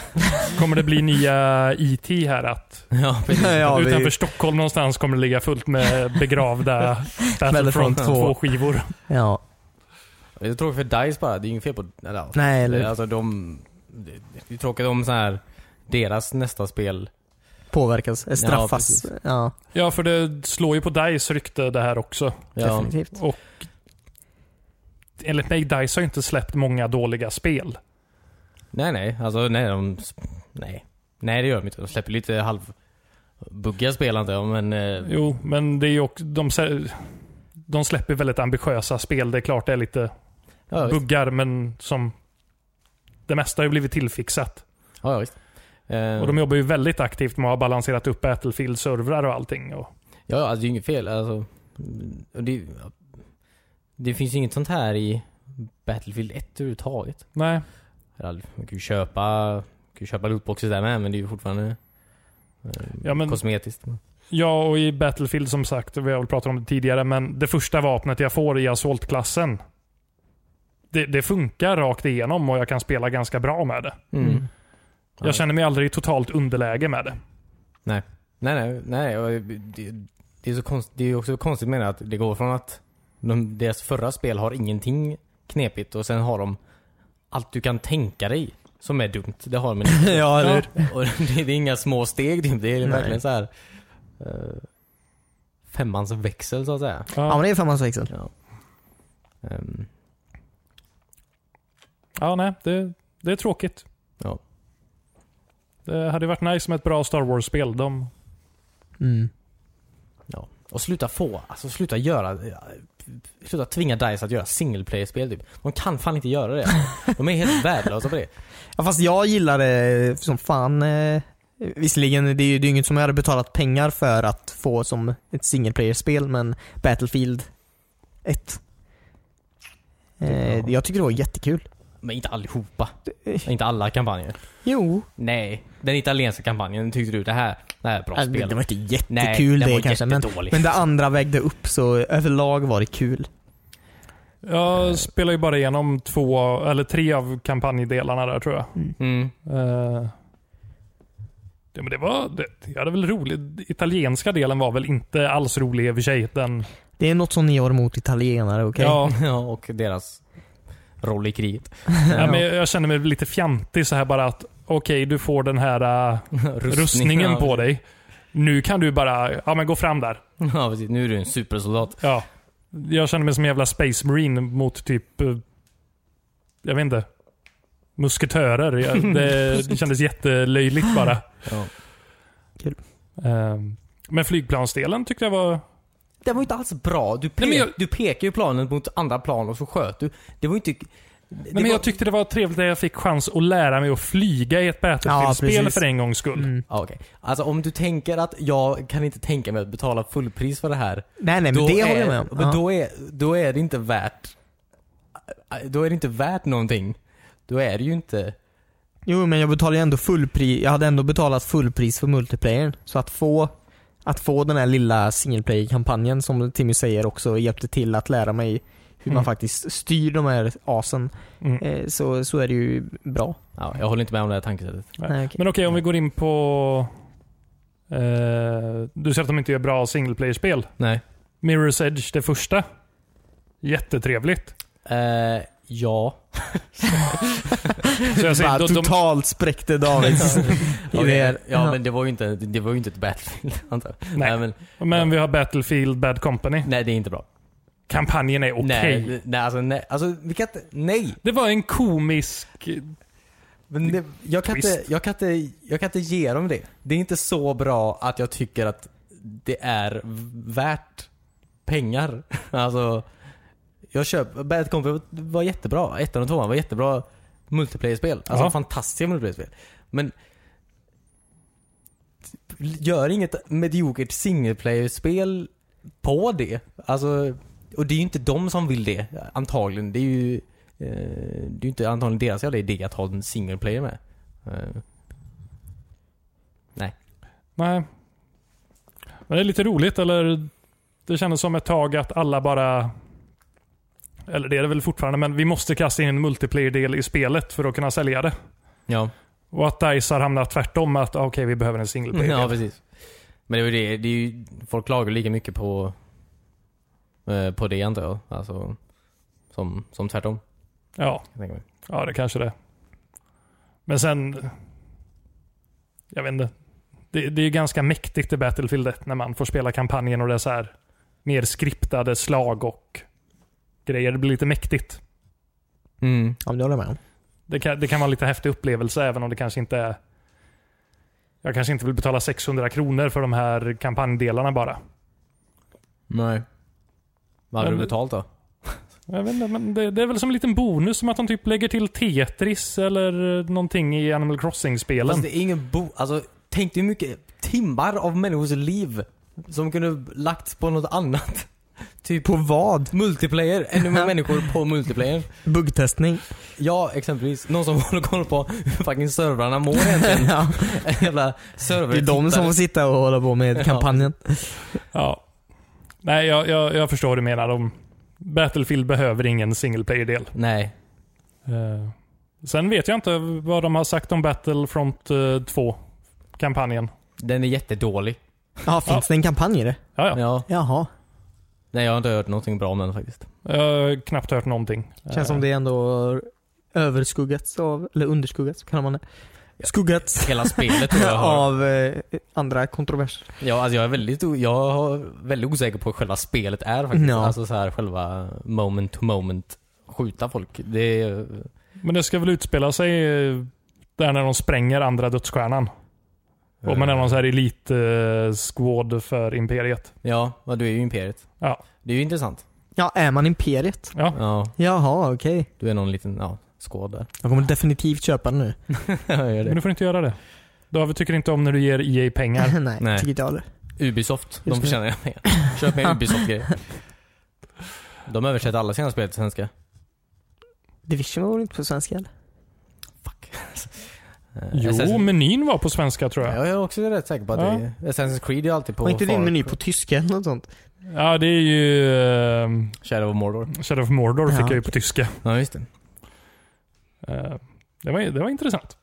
Speaker 2: Kommer det bli nya IT här att
Speaker 3: Ja, precis.
Speaker 1: Ja, vi-
Speaker 2: utanför Stockholm någonstans kommer det ligga fullt med begravda Battlefront
Speaker 1: Battlefront 2.
Speaker 2: 2-skivor.
Speaker 1: Ja.
Speaker 3: Det är tråkigt för DICE bara, det är inget fel på... Eller, ja.
Speaker 1: Nej, eller
Speaker 3: Alltså de... Det det är tråkigt om så här deras nästa spel...
Speaker 1: påverkas, eh, straffas.
Speaker 3: precis.
Speaker 1: Ja,
Speaker 2: Ja, för det slår ju på DICE rykte det här också.
Speaker 3: Ja,
Speaker 1: definitivt.
Speaker 2: Enligt mig, DICE har ju inte släppt många dåliga spel.
Speaker 3: nej, nej. Alltså nej, de... Nej. Nej, det gör de inte. De släpper lite halv... Buggiga spel antar jag, men... eh,
Speaker 2: Jo, men det är ju också, de, sä- de släpper väldigt ambitiösa spel. Det är klart det är lite
Speaker 3: Ja, visst.
Speaker 2: buggar, men som det mesta har ju blivit tillfixat.
Speaker 3: Ja, ja, visst. Eh,
Speaker 2: Och de jobbar ju väldigt aktivt med att ha balanserat upp Battlefield-servrar och allting. Och,
Speaker 3: Ja, ja, alltså det är inget fel. Alltså, mm, och det, det finns ju inget sånt här i Battlefield 1 överhuvudtaget.
Speaker 2: nej,
Speaker 3: Eller, alltså, Man kan ju köpa, man kan ju köpa lootboxes där med, men det är ju fortfarande eh,
Speaker 2: Ja, men-
Speaker 3: kosmetiskt.
Speaker 2: Ja, och i Battlefield som sagt, vi har väl pratat om det tidigare, men det första vapnet jag får i assaultklassen, det, det funkar rakt igenom och jag kan spela ganska bra med det.
Speaker 3: Mm. Ja.
Speaker 2: Jag känner mig aldrig i totalt underläge med det.
Speaker 3: Nej, nej, nej. och Det, det är så konst, det är ju också konstigt med det att det går från att de, deras förra spel har ingenting knepigt och sen har de allt du kan tänka dig som är dumt. Det har de inte.
Speaker 1: Ja, eller hur?
Speaker 3: Och det, det är inga små steg typ. Det är
Speaker 1: Nej.
Speaker 3: verkligen så här. eh, femmans växel så att säga.
Speaker 1: Ja,
Speaker 2: Ja,
Speaker 1: men det är femmans växel.
Speaker 3: Ja. Ehm,
Speaker 2: ja nej, det, det är tråkigt.
Speaker 3: Ja.
Speaker 2: Det hade varit nice med ett bra Star Wars-spel. De,
Speaker 1: Mm.
Speaker 3: ja. Och sluta få, alltså sluta göra, eh, sluta tvinga DICE att göra single player-spel typ. De kan fan inte göra det. De är helt värdelösa på det.
Speaker 1: Ja, fast jag gillar det som fan. eh, Visserligen, det är ju det är inget som jag hade betalat pengar för att få som ett single player-spel, men Battlefield 1. Eh, jag tycker det var jättekul.
Speaker 3: Men inte allihopa. Inte alla kampanjer.
Speaker 1: Jo.
Speaker 3: eh. Nej, den italienska kampanjen tyckte du det här, det här är bra
Speaker 1: Alltså, det
Speaker 3: spel.
Speaker 1: var inte
Speaker 3: Nej,
Speaker 1: jättekul
Speaker 3: den
Speaker 1: det
Speaker 3: var
Speaker 1: kanske, men,
Speaker 3: jättedålig.
Speaker 1: men det andra vägde upp så överlag var det kul.
Speaker 2: jag spelar ju bara igenom två, eller tre av kampanjdelarna där tror jag.
Speaker 3: Mm.
Speaker 2: Eh, det, men det var, det, jag hade väl roligt. Italienska delen var väl inte alls rolig i och för sig. Den,
Speaker 1: Det är något som ni har emot italienare, okej?
Speaker 2: ja,
Speaker 3: Ja, och deras roll i kriget.
Speaker 2: ja, men jag, jag känner mig lite fjantig så här bara att okej, du får den här eh, rustningen på dig. Nu kan du bara, ja men gå fram där.
Speaker 3: Ja, precis. Nu är du en supersoldat.
Speaker 2: Ja. Jag känner mig som en jävla space marine mot typ, eh, jag vet inte, musketörer. Jag, det, det kändes jättelöjligt bara.
Speaker 3: Ja.
Speaker 2: Eh, men flygplansdelen tyckte jag var
Speaker 3: Den var ju inte alls bra. Du, pe-
Speaker 2: Nej, men jag-
Speaker 3: du pekar ju planen mot andra plan och så sköt du. Det var ju inte... det
Speaker 2: Nej, men
Speaker 3: var-
Speaker 2: jag tyckte det var trevligt när jag fick chans att lära mig att flyga i ett
Speaker 1: Ja,
Speaker 2: Battlefield-spel
Speaker 1: precis.
Speaker 2: för en gångs skull.
Speaker 1: Mm.
Speaker 3: Ja, okej. Alltså om du tänker att jag kan inte tänka mig att betala fullpris för det här.
Speaker 1: Nej, nej, men
Speaker 3: då
Speaker 1: det
Speaker 3: är,
Speaker 1: håller jag med om.
Speaker 3: Men
Speaker 1: Ja.
Speaker 3: då, är, då är det inte värt... Då är det inte värt någonting. Då är det ju inte...
Speaker 1: Jo, men jag betalade ju ändå fullpris. Jag hade ändå betalat fullpris för multiplayern. Så att få, att få den här lilla single player-kampanjen som Timmy säger också hjälpte till att lära mig hur man
Speaker 2: Mm.
Speaker 1: faktiskt styr de här asen.
Speaker 2: Mm.
Speaker 1: Eh, så, så är det ju bra.
Speaker 3: Ja, jag håller inte med om det här tankesättet.
Speaker 2: Nej.
Speaker 1: Nej, okej.
Speaker 2: Men okej, om vi går in på... Eh, du säger att de inte gör bra single player-spel.
Speaker 3: Nej.
Speaker 2: Mirror's Edge, det första. Jättetrevligt.
Speaker 3: Eh, ja.
Speaker 2: Så jag säger,
Speaker 1: Bara
Speaker 2: de, de,
Speaker 1: totalt spräckte Davids idéer.
Speaker 3: Ja, men det var ju inte, det var ju inte ett Battlefield antar jag.
Speaker 2: Nej.
Speaker 3: men,
Speaker 2: men vi har Battlefield, Bad Company.
Speaker 3: nej, det är inte bra.
Speaker 2: Kampanjen är okej.
Speaker 3: Nej, nej, alltså, nej, alltså vi kan inte, nej.
Speaker 2: Det var en komisk...
Speaker 3: Men det, jag, kan inte,
Speaker 2: Twist.
Speaker 3: jag, kan inte, jag kan inte ge dem det. Det är inte så bra att jag tycker att det är värt pengar. Alltså, jag köper, Bad Company var jättebra. Ettan och tvåan var jättebra multiplayer-spel. Alltså
Speaker 2: Ja.
Speaker 3: fantastiska multiplayer-spel. Men gör inget mediokert singleplayer-spel på det. Alltså, och det är ju inte de som vill det antagligen. Det är ju eh, det är ju inte antagligen deras jävla idé att ha en single player med. Eh,
Speaker 2: Nej. Men det är lite roligt, eller? Det kändes som ett tag att alla bara... Eller det är det väl fortfarande, men vi måste kasta in en multiplayer-del i spelet för att kunna sälja det.
Speaker 3: Ja,
Speaker 2: Och att DICE har hamnat tvärtom, att ah, okej, vi behöver en single player.
Speaker 3: ja precis. Men det är ju det, det är ju, folk klagar lika mycket på eh, på det antar jag. Alltså, som, som tvärtom.
Speaker 2: ja,
Speaker 3: kan jag tänka mig.
Speaker 2: ja, det kanske det är. Men sen... Jag vet inte. Det, det är ju ganska mäktigt i Battlefield 1 när man får spela kampanjen och det är så här mer skriptade slag och grejer. Det blir lite mäktigt.
Speaker 3: Mm.
Speaker 1: Ja, men det håller jag med om.
Speaker 2: Det kan, det kan vara en lite häftig upplevelse även om det kanske inte är... Jag kanske inte vill betala 600 kronor för de här kampanjdelarna bara.
Speaker 3: Nej. Vad hade
Speaker 2: Men-
Speaker 3: du betalt då?
Speaker 2: Jag vet inte, men det, det är väl som en liten bonus som att de typ lägger till Tetris eller någonting i Animal Crossing-spelen.
Speaker 3: Fast det är ingen bo... Alltså, tänk dig hur mycket timmar av människors liv som kunde lagts på något annat. Typ
Speaker 1: På vad?
Speaker 3: multiplayer. Ännu mer människor på multiplayer.
Speaker 1: Buggtestning?
Speaker 3: Ja, exempelvis. Någon som håller koll på hur fucking servrarna mår egentligen.
Speaker 1: ja.
Speaker 3: En jävla server
Speaker 1: Det är de som får sitta och hålla på med kampanjen.
Speaker 2: Ja. Nej, jag, jag, jag förstår vad du menar. De, Battlefield behöver ingen single player-del.
Speaker 3: Nej.
Speaker 2: Eh, sen vet jag inte vad de har sagt om Battlefront eh, 2-kampanjen.
Speaker 3: Den är jättedålig.
Speaker 1: Ja, finns det en kampanj i det?
Speaker 2: Ja, ja.
Speaker 3: Ja.
Speaker 1: Jaha.
Speaker 3: Nej, jag har inte hört någonting bra om den faktiskt.
Speaker 2: Jag har knappt hört någonting. Eh,
Speaker 1: Känns som det ändå överskuggats av, eller underskuggats, kallar man det? Skuggats
Speaker 3: Hela spelet tror jag har.
Speaker 1: av eh, andra kontroverser.
Speaker 3: Ja, alltså jag är väldigt, o- jag har väldigt osäker på hur själva spelet är faktiskt.
Speaker 1: Ja.
Speaker 3: Alltså så här själva moment to moment. Skjuta folk. Det är...
Speaker 2: Men det ska väl utspela sig eh, där när de spränger andra dödsstjärnan. Och man är någon så här elitskåd för Imperiet.
Speaker 3: Ja, ja, du är ju Imperiet.
Speaker 2: Ja.
Speaker 3: Det är ju intressant.
Speaker 1: Ja, är man Imperiet?
Speaker 2: Ja.
Speaker 3: Ja,
Speaker 1: Jaha, okej.
Speaker 3: du är någon liten, ja, skåd där.
Speaker 1: Jag kommer definitivt köpa den nu.
Speaker 3: jag gör
Speaker 2: Men
Speaker 3: det.
Speaker 2: du får inte göra det. David tycker inte om när du ger EA pengar.
Speaker 1: Nej,
Speaker 3: Nej.
Speaker 1: tycker inte jag heller.
Speaker 3: Ubisoft,
Speaker 1: Just
Speaker 3: de
Speaker 1: det.
Speaker 3: förtjänar jag pengar. Köp mer Ubisoft-grejer. De översätter alla sina spel till svenska.
Speaker 1: Division var väl inte på svenska eller?
Speaker 3: Fuck. Eh,
Speaker 2: Jo,
Speaker 3: Assassin's-
Speaker 2: menyn var på svenska tror jag.
Speaker 3: Ja, jag är också rätt säker på att
Speaker 2: Ja.
Speaker 3: det är... Assassin's Creed är alltid på...
Speaker 1: Var inte din
Speaker 3: Far-
Speaker 1: meny på tyska eller något sånt?
Speaker 2: Ja, det är ju... eh,
Speaker 3: Shadow of Mordor.
Speaker 2: Shadow of Mordor fick
Speaker 1: Ja,
Speaker 2: jag ju
Speaker 1: okej.
Speaker 2: på tyska.
Speaker 3: Ja, just det.
Speaker 2: Eh, Det var, det var intressant.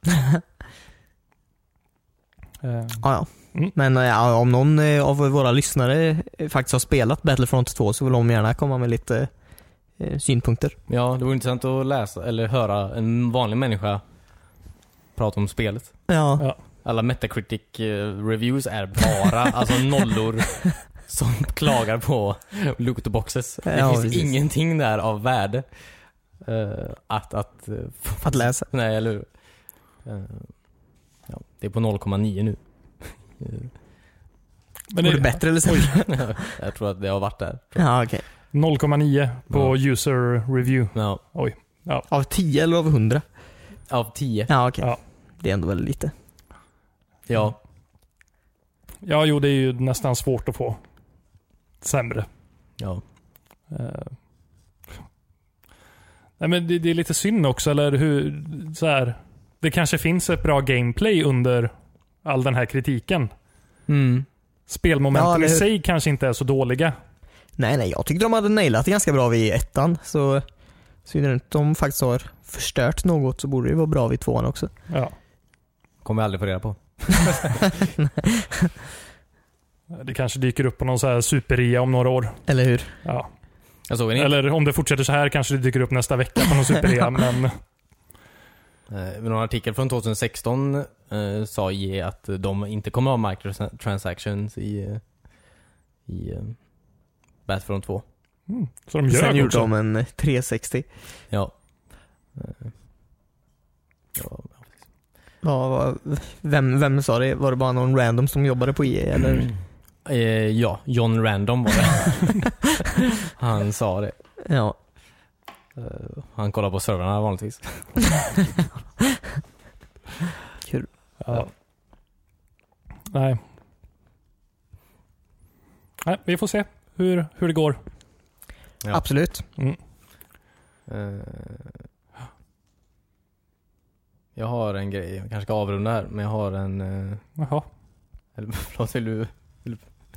Speaker 2: Eh,
Speaker 1: Ja, ja.
Speaker 2: Mm.
Speaker 1: Men eh, ja, om någon eh, av våra lyssnare eh, faktiskt har spelat Battlefront 2 så vill de gärna komma med lite eh, synpunkter.
Speaker 3: Ja, det vore intressant att läsa eller höra en vanlig människa prata om spelet.
Speaker 1: Ja.
Speaker 3: Alla Metacritic eh, reviews är bara alltså nollor som klagar på loot boxes. Det
Speaker 1: Ja,
Speaker 3: finns
Speaker 1: precis.
Speaker 3: ingenting där av värde. eh, att, att, eh,
Speaker 1: Att läsa.
Speaker 3: nej eller hur? Eh, ja, det är på 0,9 nu.
Speaker 2: Men
Speaker 1: Vore det
Speaker 2: det,
Speaker 1: bättre eller sämre?
Speaker 3: jag tror att det har varit där.
Speaker 1: Ja, okej.
Speaker 2: 0,9 på user review.
Speaker 3: Ja,
Speaker 1: Av 10 eller av 100?
Speaker 3: av 10.
Speaker 1: Ja, okej.
Speaker 2: Ja.
Speaker 1: Det är ändå väldigt lite.
Speaker 3: Ja,
Speaker 2: Ja, jo, det är ju nästan svårt att få sämre.
Speaker 3: ja.
Speaker 2: Eh. Nej, men det, det är lite synd också, eller hur? Så här, det kanske finns ett bra gameplay under all den här kritiken.
Speaker 3: Mm.
Speaker 2: Spelmomenten
Speaker 1: Ja, eller
Speaker 2: i
Speaker 1: hur?
Speaker 2: sig kanske inte är så dåliga.
Speaker 1: Nej, nej, jag tyckte de hade nailat det ganska bra vid ettan. Så så inte de faktiskt har förstört något så borde det vara bra vid tvåan också.
Speaker 2: Ja.
Speaker 3: Kommer jag aldrig få reda på.
Speaker 2: Det kanske dyker upp på någon så här superrea om några år.
Speaker 1: Eller hur?
Speaker 2: Ja.
Speaker 3: Jag såg en, in-
Speaker 2: Eller om det fortsätter så här kanske det dyker upp nästa vecka på någon superrea. men
Speaker 3: eh, någon artikel från 2016 eh, sa EA att de inte kommer ha microtransactions i, eh, i eh, Battlefront 2.
Speaker 2: mm, så de
Speaker 1: Sen
Speaker 2: gör
Speaker 1: gjorde
Speaker 2: också.
Speaker 1: de en 360.
Speaker 3: Ja. Eh, ja.
Speaker 1: Ja, vad- vem, vem sa det? Var det bara någon random som jobbade på EA
Speaker 2: Mm,
Speaker 1: eller?
Speaker 3: Eh, ja, John Random var det. Han sa det.
Speaker 1: Ja.
Speaker 3: Eh, han kollar på servrarna vanligtvis.
Speaker 1: Kul.
Speaker 2: Ja. Nej. Nej, vi får se hur, hur det går.
Speaker 3: Ja.
Speaker 1: Absolut.
Speaker 3: Eh, jag har en grej, jag kanske ska avrunda här, men jag har en... eh,
Speaker 2: Jaha.
Speaker 3: eller förlåt, vill du...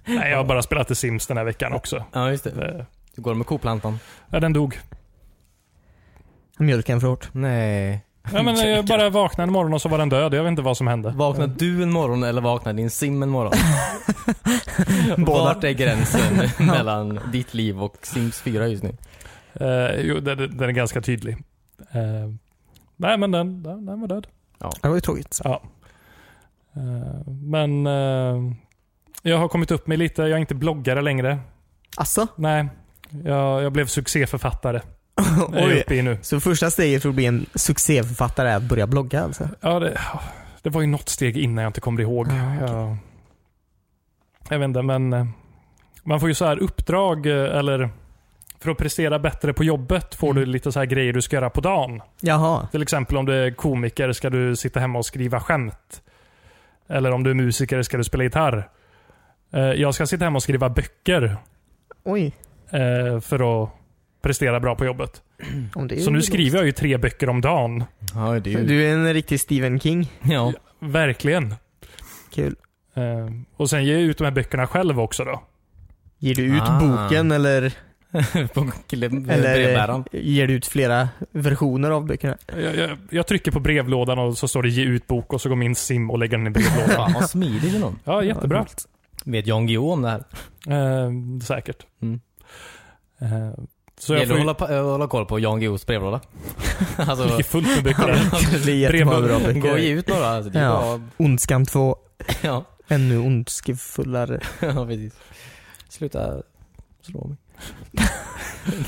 Speaker 2: Nej, jag har bara spelat The Sims den här veckan också.
Speaker 3: Ja, just det.
Speaker 2: Det-
Speaker 3: Du går med koplantan?
Speaker 2: Ja, den dog.
Speaker 1: Mjölken för hårt.
Speaker 3: Nej.
Speaker 2: Ja, men jag bara vaknade en morgon och så var den död. Jag vet inte vad som hände.
Speaker 3: Vaknar du en morgon eller vaknar din sim en morgon?
Speaker 1: Båda.
Speaker 3: Vart är gränsen mellan ditt liv och Sims 4 just nu?
Speaker 2: Eh, jo, den, den är ganska tydlig. Eh, nej, men den, den, den var död.
Speaker 1: Det var ju tråkigt.
Speaker 2: Ja. Eh, men eh, jag har kommit upp mig lite. Jag är inte bloggare längre.
Speaker 1: Asså?
Speaker 2: Nej, jag, jag blev succéförfattare. Det är jag
Speaker 1: Oj.
Speaker 2: uppe i nu.
Speaker 1: Så första steget för att bli en succéförfattare är att börja blogga alltså?
Speaker 2: Ja, det, det var ju något steg innan jag inte kommer ihåg.
Speaker 1: Ja, okej.
Speaker 2: jag, jag vet inte, men eh, man får ju så här uppdrag eh, eller för att prestera bättre på jobbet får
Speaker 1: Mm.
Speaker 2: du lite så här grejer du ska göra på dagen.
Speaker 1: Jaha.
Speaker 2: Till exempel om du är komiker ska du sitta hemma och skriva skämt. Eller om du är musiker ska du spela gitarr. Eh, Jag ska sitta hemma och skriva böcker
Speaker 1: Oj.
Speaker 2: eh, för att prestera bra på jobbet.
Speaker 1: Om det är
Speaker 2: Så nu skriver jag ju tre böcker om dagen.
Speaker 3: Ja, det är ju...
Speaker 1: Du är en riktig Stephen King.
Speaker 3: Ja.
Speaker 2: Verkligen.
Speaker 1: Kul.
Speaker 2: Eh, Och sen ger jag ut de här böckerna själv också då.
Speaker 1: Ger du ut
Speaker 3: Ah.
Speaker 1: boken eller,
Speaker 3: På kille-
Speaker 1: eller
Speaker 3: brevbäraren.
Speaker 1: ger du ut flera versioner av böckerna?
Speaker 2: Jag, jag, jag trycker på brevlådan och så står det ge ut bok och så går min sim och lägger den i brevlådan.
Speaker 3: Fan vad smidig du är.
Speaker 2: Ja, jättebra.
Speaker 1: coolt.
Speaker 3: Vet Jan Guillou om det här?
Speaker 2: Eh, säkert.
Speaker 3: Mm.
Speaker 2: Eh, så
Speaker 3: Det
Speaker 2: jag får
Speaker 3: gäller
Speaker 2: ju...
Speaker 3: att hålla, pa- eh, hålla koll på Jan Guillous brevlåda.
Speaker 2: Det
Speaker 3: alltså,
Speaker 2: ligger fullt med böcker där.
Speaker 1: det är jättemånga bra
Speaker 2: Brevlådan.
Speaker 1: böcker.
Speaker 3: gå och ge ut några. Alltså, det är
Speaker 1: Ja.
Speaker 3: bra.
Speaker 1: Ondskan 2.
Speaker 3: Ja.
Speaker 1: Ännu ondskefullare.
Speaker 3: ja, precis. Sluta slå mig.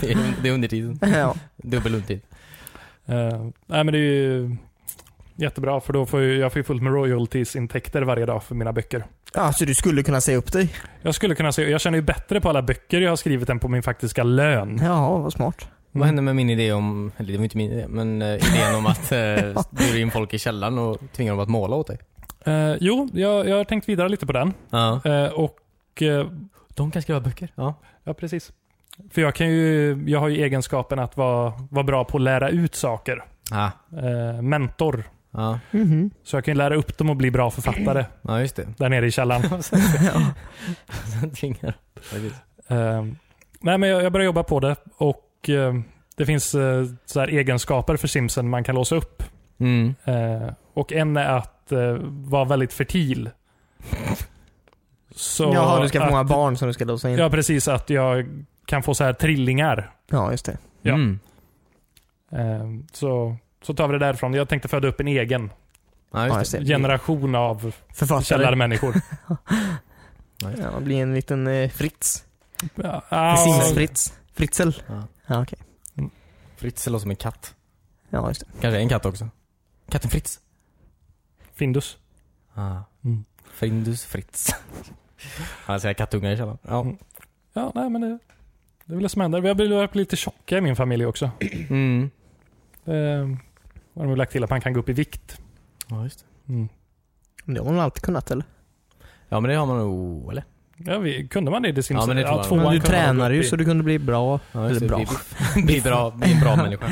Speaker 3: det, är, det är undertiden.
Speaker 1: ja.
Speaker 3: Dubbel undertid.
Speaker 2: Eh, nej, men det är ju jättebra för då får jag, jag får ju fullt med royalties-intäkter varje dag för mina böcker.
Speaker 1: ja, så du skulle kunna säga upp dig?
Speaker 2: Jag skulle kunna säga, jag känner ju bättre på alla böcker jag har skrivit än på min faktiska lön.
Speaker 1: Jaha, vad smart.
Speaker 3: Vad hände med min idé om, eller det var inte min idé, men eh, idén om att eh, bjuda in folk i källaren och tvinga dem att måla åt dig?
Speaker 2: Eh, jo, jag, jag har tänkt vidare lite på den.
Speaker 3: Ja.
Speaker 2: Eh, och eh,
Speaker 3: De kan skriva böcker. Ja.
Speaker 2: Ja, precis. För jag, kan ju, jag har ju egenskapen att vara, vara bra på att lära ut saker.
Speaker 3: Ja.
Speaker 2: Eh, mentor.
Speaker 3: Ja.
Speaker 1: Mhm.
Speaker 2: Så jag kan ju lära upp dem att bli bra författare
Speaker 3: ja, just det.
Speaker 2: där nere i källaren.
Speaker 3: Sen tvingar. Precis.
Speaker 2: Eh, nej, men jag, jag börjar jobba på det och eh, det finns eh, så här egenskaper för Simsen man kan låsa upp.
Speaker 3: Mm.
Speaker 2: Eh, och en är att eh, vara väldigt fertil. Så
Speaker 1: Jaha, du ska få
Speaker 2: att,
Speaker 1: många barn som du ska låsa in.
Speaker 2: Ja, precis. Att jag kan få så här trillingar.
Speaker 1: Ja, just det.
Speaker 2: Ja.
Speaker 3: Mm.
Speaker 2: Eh, så, så tar vi det därifrån. Jag tänkte föda upp en egen.
Speaker 3: Ja,
Speaker 1: Ja, jag
Speaker 3: just det.
Speaker 1: ser.
Speaker 2: generation av
Speaker 1: Författare.
Speaker 2: källarmänniskor.
Speaker 1: Ja, bli en liten eh, Fritz.
Speaker 2: Ja,
Speaker 1: Sims-Fritz. Fritzl.
Speaker 3: Ja.
Speaker 1: Ja, okej.
Speaker 3: Fritz låter som en katt.
Speaker 1: Ja, just det.
Speaker 3: Kanske en katt också. Katten Fritz.
Speaker 2: Findus.
Speaker 3: Ah.
Speaker 2: Mm.
Speaker 3: Frindus Fritz. Mm. Han säger kattungar i källaren. Ja.
Speaker 2: Ja, nej men det, det är väl det som händer. Vi har blivit lite tjocka i min familj också.
Speaker 3: Mm.
Speaker 2: Det har de väl lagt till att man kan gå upp i vikt.
Speaker 3: Ja, just det.
Speaker 2: Mm.
Speaker 1: Men Det har hon alltid kunnat eller?
Speaker 3: Ja, men det har man nog, eller?
Speaker 2: Jag vet, kunde man det i The Sims?
Speaker 3: Ja, men det tror jag.
Speaker 2: tvåan
Speaker 1: Men du
Speaker 2: kunde man
Speaker 1: tränar
Speaker 2: gå
Speaker 1: ju
Speaker 2: upp i.
Speaker 1: så du kunde bli bra.
Speaker 3: Ja,
Speaker 1: eller
Speaker 3: just det,
Speaker 1: bra.
Speaker 3: Bli, bli bra. Bli en bra människa.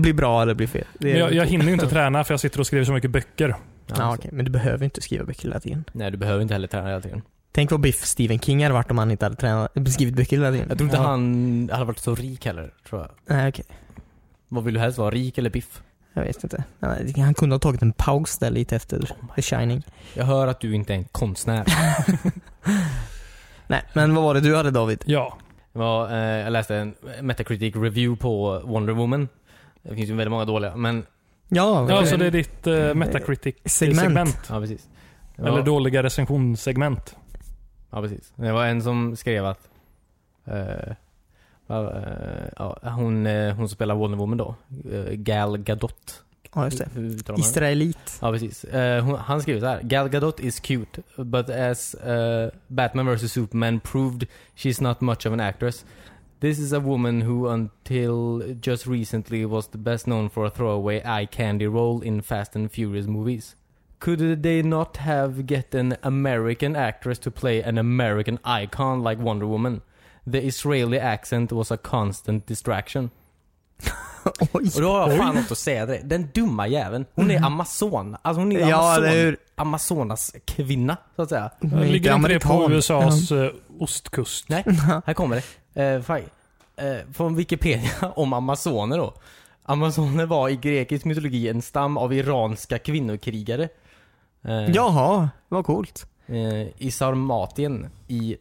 Speaker 1: bli bra eller bli fel. Det är-
Speaker 2: Men jag, jag hinner ju inte träna för jag sitter och skriver så mycket böcker.
Speaker 3: Ja,
Speaker 1: Ja,
Speaker 3: så-
Speaker 1: okej, men du behöver inte skriva böcker hela tiden.
Speaker 3: Nej, du behöver inte heller träna hela tiden.
Speaker 1: Tänk vad biff Stephen King hade varit om han inte hade tränat, skrivit böcker hela tiden.
Speaker 3: Jag tror inte
Speaker 1: Ja.
Speaker 3: han hade varit så rik heller, tror jag.
Speaker 1: Nej, okej.
Speaker 3: Vad vill du helst vara? Rik eller biff?
Speaker 1: Jag vet inte. Nej, Han kunde ha tagit en paus där lite
Speaker 3: Oh
Speaker 1: efter The Shining.
Speaker 3: Jag hör att du inte är en konstnär.
Speaker 1: Nej, men vad var det du hade David?
Speaker 2: Ja.
Speaker 3: Ja, eh, jag läste en Metacritic review på Wonder Woman. Det finns ju väldigt många dåliga, men...
Speaker 1: Ja,
Speaker 2: ja,
Speaker 1: det-
Speaker 3: alltså
Speaker 2: så det är ditt eh, Metacritic-segment.
Speaker 1: Mm. Segment.
Speaker 3: Ja, precis. Det
Speaker 2: Eller
Speaker 3: var-
Speaker 2: dåliga recensionssegment.
Speaker 3: Ja, precis. Det var en som skrev att... eh, va- eh, ja, hon, eh, hon som spelar Wonder Woman då, eh, Gal Gadot.
Speaker 1: ja just det.
Speaker 3: Hur uttalar man det?
Speaker 1: Israelit.
Speaker 3: Ja, precis. Eh, hon, han skriver så här. Gal Gadot is cute, but as eh, Batman vs Superman proved, she's not much of an actress. This is a woman who until just recently was the best known for a throwaway eye candy role in Fast and Furious movies. Could they not have get an American actress to play an American icon like Wonder Woman? The Israeli accent was a constant distraction.
Speaker 1: Oj. Mhm.
Speaker 3: Och då har jag fan något att säga till dig. Den dumma jäveln. Hon är amazon. Alltså hon är
Speaker 1: Ja,
Speaker 3: amazon.
Speaker 1: eller hur?
Speaker 3: Amazonas kvinna, så att säga.
Speaker 1: Nej,
Speaker 2: Ligger inte det på
Speaker 1: Mm. amerikan.
Speaker 2: USAs eh, ostkust?
Speaker 3: Nej, här kommer det. Eh, fan. eh, från Wikipedia om amazoner då. Amazoner var i grekisk mytologi en stam av iranska kvinnokrigare. Eh,
Speaker 1: Jaha, vad coolt.
Speaker 3: eh, I Sarmatien, i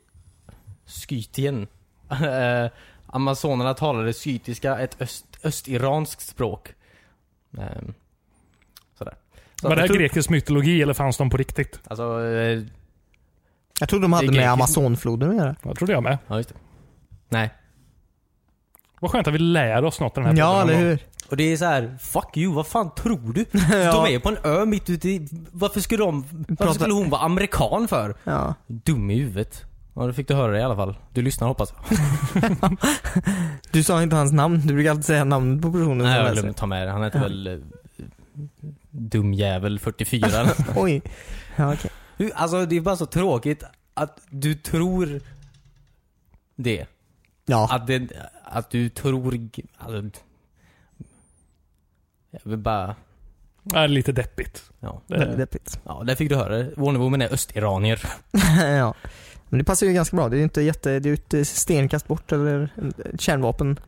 Speaker 3: Skytien. Eh, Amazonerna talade skytiska, ett öst, östiranskt språk. Eh, sådär. Så
Speaker 2: Var
Speaker 3: att-
Speaker 2: det här grekisk mytologi eller fanns de på riktigt?
Speaker 3: Alltså, eh,
Speaker 1: Jag trodde de hade
Speaker 3: Det är
Speaker 1: med
Speaker 3: grekiskt.
Speaker 1: Amazonfloden att göra.
Speaker 2: Jag trodde jag med.
Speaker 3: ja just det. Nej.
Speaker 2: Vad skönt att vi lär oss något i den här podden
Speaker 1: Ja,
Speaker 2: någon
Speaker 1: eller
Speaker 2: gång.
Speaker 1: hur?
Speaker 3: Och det är så här, fuck you, vad fan tror du?
Speaker 1: Ja.
Speaker 3: De är på en ö mitt ute i... Varför skulle de... Varför
Speaker 1: Prata-
Speaker 3: skulle hon vara amerikan för?
Speaker 1: Ja.
Speaker 3: Dum i huvudet. Ja, då fick du höra det i alla fall. Du lyssnar hoppas jag.
Speaker 1: Du sa inte hans namn. Du brukar alltid säga namnet på personen
Speaker 3: Nej,
Speaker 1: som
Speaker 3: jag
Speaker 1: läser.
Speaker 3: glömde ta med det. Han heter väl... eh, Dumjävel 44 eller
Speaker 1: Oj. Ja, okej.
Speaker 3: Hur- Alltså det är bara så tråkigt att du tror det.
Speaker 1: Ja.
Speaker 3: Att, det, att du tror... g- Alltså, jag vill bara...
Speaker 2: Ja, det är lite deppigt.
Speaker 3: Ja.
Speaker 2: Det är
Speaker 1: Väldigt
Speaker 2: det.
Speaker 1: deppigt.
Speaker 3: Ja, där fick du höra det. Wonder Woman är östiranier.
Speaker 1: ja. Men det passar ju ganska bra. Det är ju inte jätte... Det är ju ett stenkast bort eller en- kärnvapen,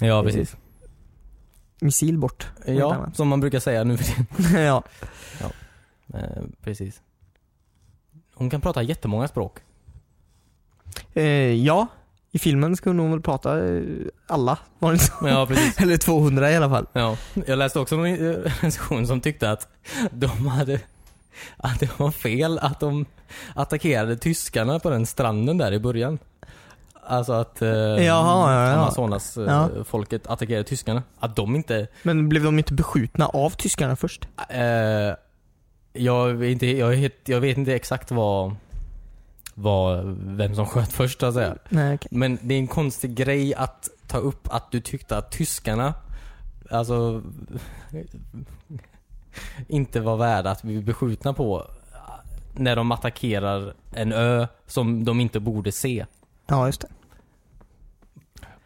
Speaker 3: Ja,
Speaker 1: precis. missil bort. Helt
Speaker 3: Ja,
Speaker 1: annat.
Speaker 3: som man brukar säga nu för tiden.
Speaker 1: ja.
Speaker 3: Eh, precis. Hon kan prata jättemånga språk.
Speaker 1: Eh, ja. I filmen skulle hon väl prata eh, alla. Var det inte så?
Speaker 3: Ja, precis.
Speaker 1: Eller 200 i alla fall.
Speaker 3: Ja. Jag läste också någon eh, recension som tyckte att de hade att det var fel att de attackerade tyskarna på den stranden där i början. Alltså att eh,
Speaker 1: Jaha, ja, ja.
Speaker 3: Amazonas eh,
Speaker 1: Ja.
Speaker 3: folket attackerade tyskarna. Att de inte...
Speaker 1: Men blev de inte beskjutna av tyskarna först?
Speaker 3: Eh, jag, vet inte jag, är helt- jag vet inte exakt vad, vad, vem som sköt först så att säga.
Speaker 1: Nej, okej.
Speaker 3: Men det är en konstig grej att ta upp att du tyckte att tyskarna, alltså, inte var värda att bli beskjutna på eh, när de attackerar en ö som de inte borde se.
Speaker 1: Ja, just det.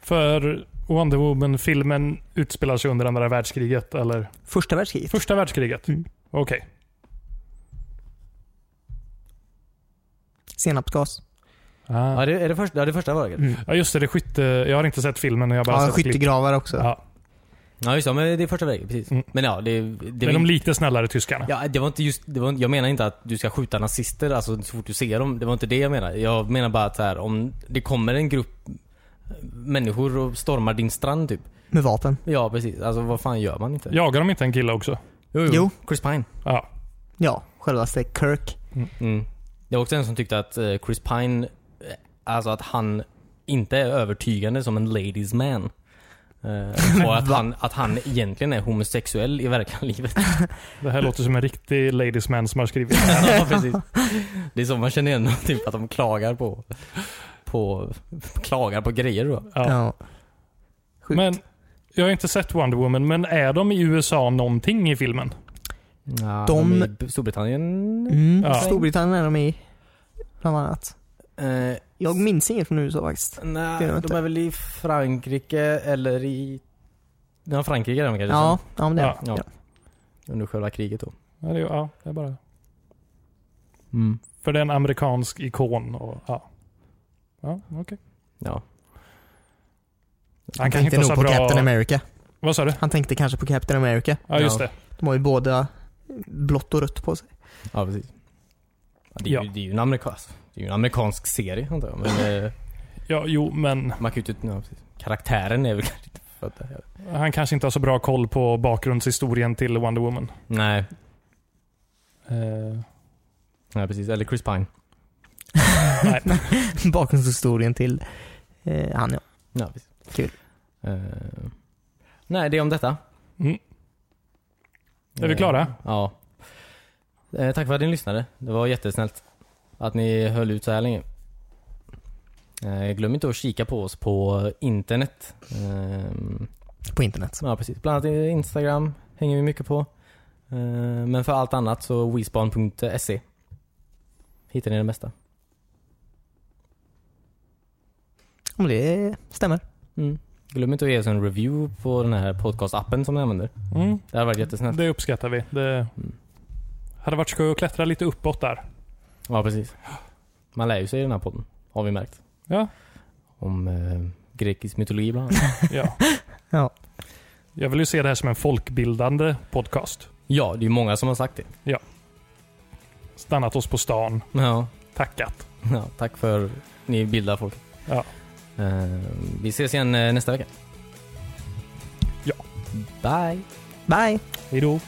Speaker 2: För Wonder Woman-filmen utspelar sig under andra världskriget, eller?
Speaker 1: Första världskriget.
Speaker 2: Första världskriget?
Speaker 1: Mm.
Speaker 2: Okej.
Speaker 1: Senapsgas.
Speaker 2: Ah.
Speaker 3: Ja, det är det första, ja, det första var det.
Speaker 2: Ja, just det. det är skytte... Jag har inte sett filmen. Jag har bara
Speaker 1: Ja,
Speaker 2: sett klipp.
Speaker 1: skyttegravar också.
Speaker 2: Ja.
Speaker 3: Ja, just det. Men det är första vägen, precis.
Speaker 2: Mm.
Speaker 3: Men ja, det... det
Speaker 2: Det är de lite snällare tyskarna.
Speaker 3: Ja, det var inte just, det var, jag menar inte att du ska skjuta nazister alltså, så fort du ser dem. Det var inte det jag menar. Jag menar bara att så här, om det kommer en grupp människor och stormar din strand typ.
Speaker 1: Med vapen.
Speaker 3: Ja precis, alltså vad fan gör man inte?
Speaker 2: Jagar de inte en kille också?
Speaker 1: Jo.
Speaker 3: Chris Pine.
Speaker 2: Ja.
Speaker 1: Ja, självaste Kirk.
Speaker 3: Mm. Det var också en som tyckte att eh, Chris Pine, eh, alltså att han inte är övertygande som en ladies man. Eh, och att han, att han egentligen är homosexuell i verkliga livet.
Speaker 2: Det här låter som en riktig ladies man som har skrivit.
Speaker 3: ja, precis. Det är så man känner igen dem, typ att de klagar på, på, klagar på grejer då.
Speaker 2: Ja.
Speaker 1: Ja. Sjukt.
Speaker 2: Men jag har inte sett Wonder Woman, men är de i USA någonting i filmen?
Speaker 3: Ja,
Speaker 1: De-
Speaker 3: I Storbritannien?
Speaker 1: Mm.
Speaker 2: Ja.
Speaker 1: Storbritannien är de i. Bland annat.
Speaker 3: Eh,
Speaker 1: Jag minns inget från USA faktiskt. Det
Speaker 3: nej,
Speaker 1: gör jag
Speaker 3: de
Speaker 1: inte.
Speaker 3: är väl i Frankrike eller i... Ja, Frankrike är de kanske.
Speaker 1: Ja, ja men det
Speaker 2: Ja,
Speaker 3: ja.
Speaker 1: ja.
Speaker 3: som- Under själva kriget då.
Speaker 2: Ja, det, är- ja, det är bara...
Speaker 3: Mm.
Speaker 2: För det är en amerikansk ikon. Och, ja. Ja, okej.
Speaker 3: Ja.
Speaker 2: Han kan
Speaker 1: Tänkte
Speaker 2: inte
Speaker 1: nog
Speaker 2: så
Speaker 1: på
Speaker 2: bra...
Speaker 1: Captain America.
Speaker 2: Vad sa du?
Speaker 1: Han tänkte kanske på Captain America.
Speaker 2: Ja, just
Speaker 3: Ja.
Speaker 2: det.
Speaker 1: De har ju båda blått och rött på sig.
Speaker 3: ja, precis. Ja, det, är ju,
Speaker 2: Ja.
Speaker 3: det, är ju en amerikansk, det är ju en amerikansk serie antar jag. Men eh,
Speaker 2: Ja, jo, men
Speaker 3: man kan ju inte... Ja, precis. Karaktären är väl kanske inte för att det här.
Speaker 2: han kanske inte har så bra koll på bakgrundshistorien till Wonder Woman.
Speaker 3: Nej,
Speaker 2: Eh,
Speaker 3: nej, precis. Eller Chris Pine.
Speaker 2: nej.
Speaker 1: Bakgrundshistorien till eh, han ja.
Speaker 3: Ja, precis.
Speaker 1: Kul.
Speaker 3: Eh, nej, det är om detta.
Speaker 2: Mm. Är vi
Speaker 3: Eh,
Speaker 2: klara?
Speaker 3: Ja. Eh, tack för att ni lyssnade. Det var jättesnällt att ni höll ut så här länge. Eh, glöm inte att kika på oss på internet. Eh,
Speaker 1: På internet.
Speaker 3: ja, precis. Bland annat Instagram hänger vi mycket på. Eh, men för allt annat så wespan.se hittar ni det mesta.
Speaker 1: Om det stämmer.
Speaker 3: Mm. Glöm inte att ge oss en review på den här podcastappen som ni använder.
Speaker 2: Mm,
Speaker 3: Det hade varit jättesnällt.
Speaker 2: det uppskattar vi. Det hade varit skoj att klättra lite uppåt där.
Speaker 3: Ja, precis. Man lär ju sig i den här podden, har vi märkt.
Speaker 2: Ja.
Speaker 3: Om eh, grekisk mytologi bland annat.
Speaker 2: ja.
Speaker 1: Ja.
Speaker 2: Jag vill ju se det här som en folkbildande podcast.
Speaker 3: ja, det är ju många som har sagt det.
Speaker 2: Stannat oss på stan,
Speaker 3: Ja,
Speaker 2: tackat.
Speaker 3: ja tack för ni bildar folk.
Speaker 2: Ja.
Speaker 3: Eh, vi ses igen eh, nästa vecka.
Speaker 2: Ja.
Speaker 3: Bye.
Speaker 1: Bye!
Speaker 2: Hejdå.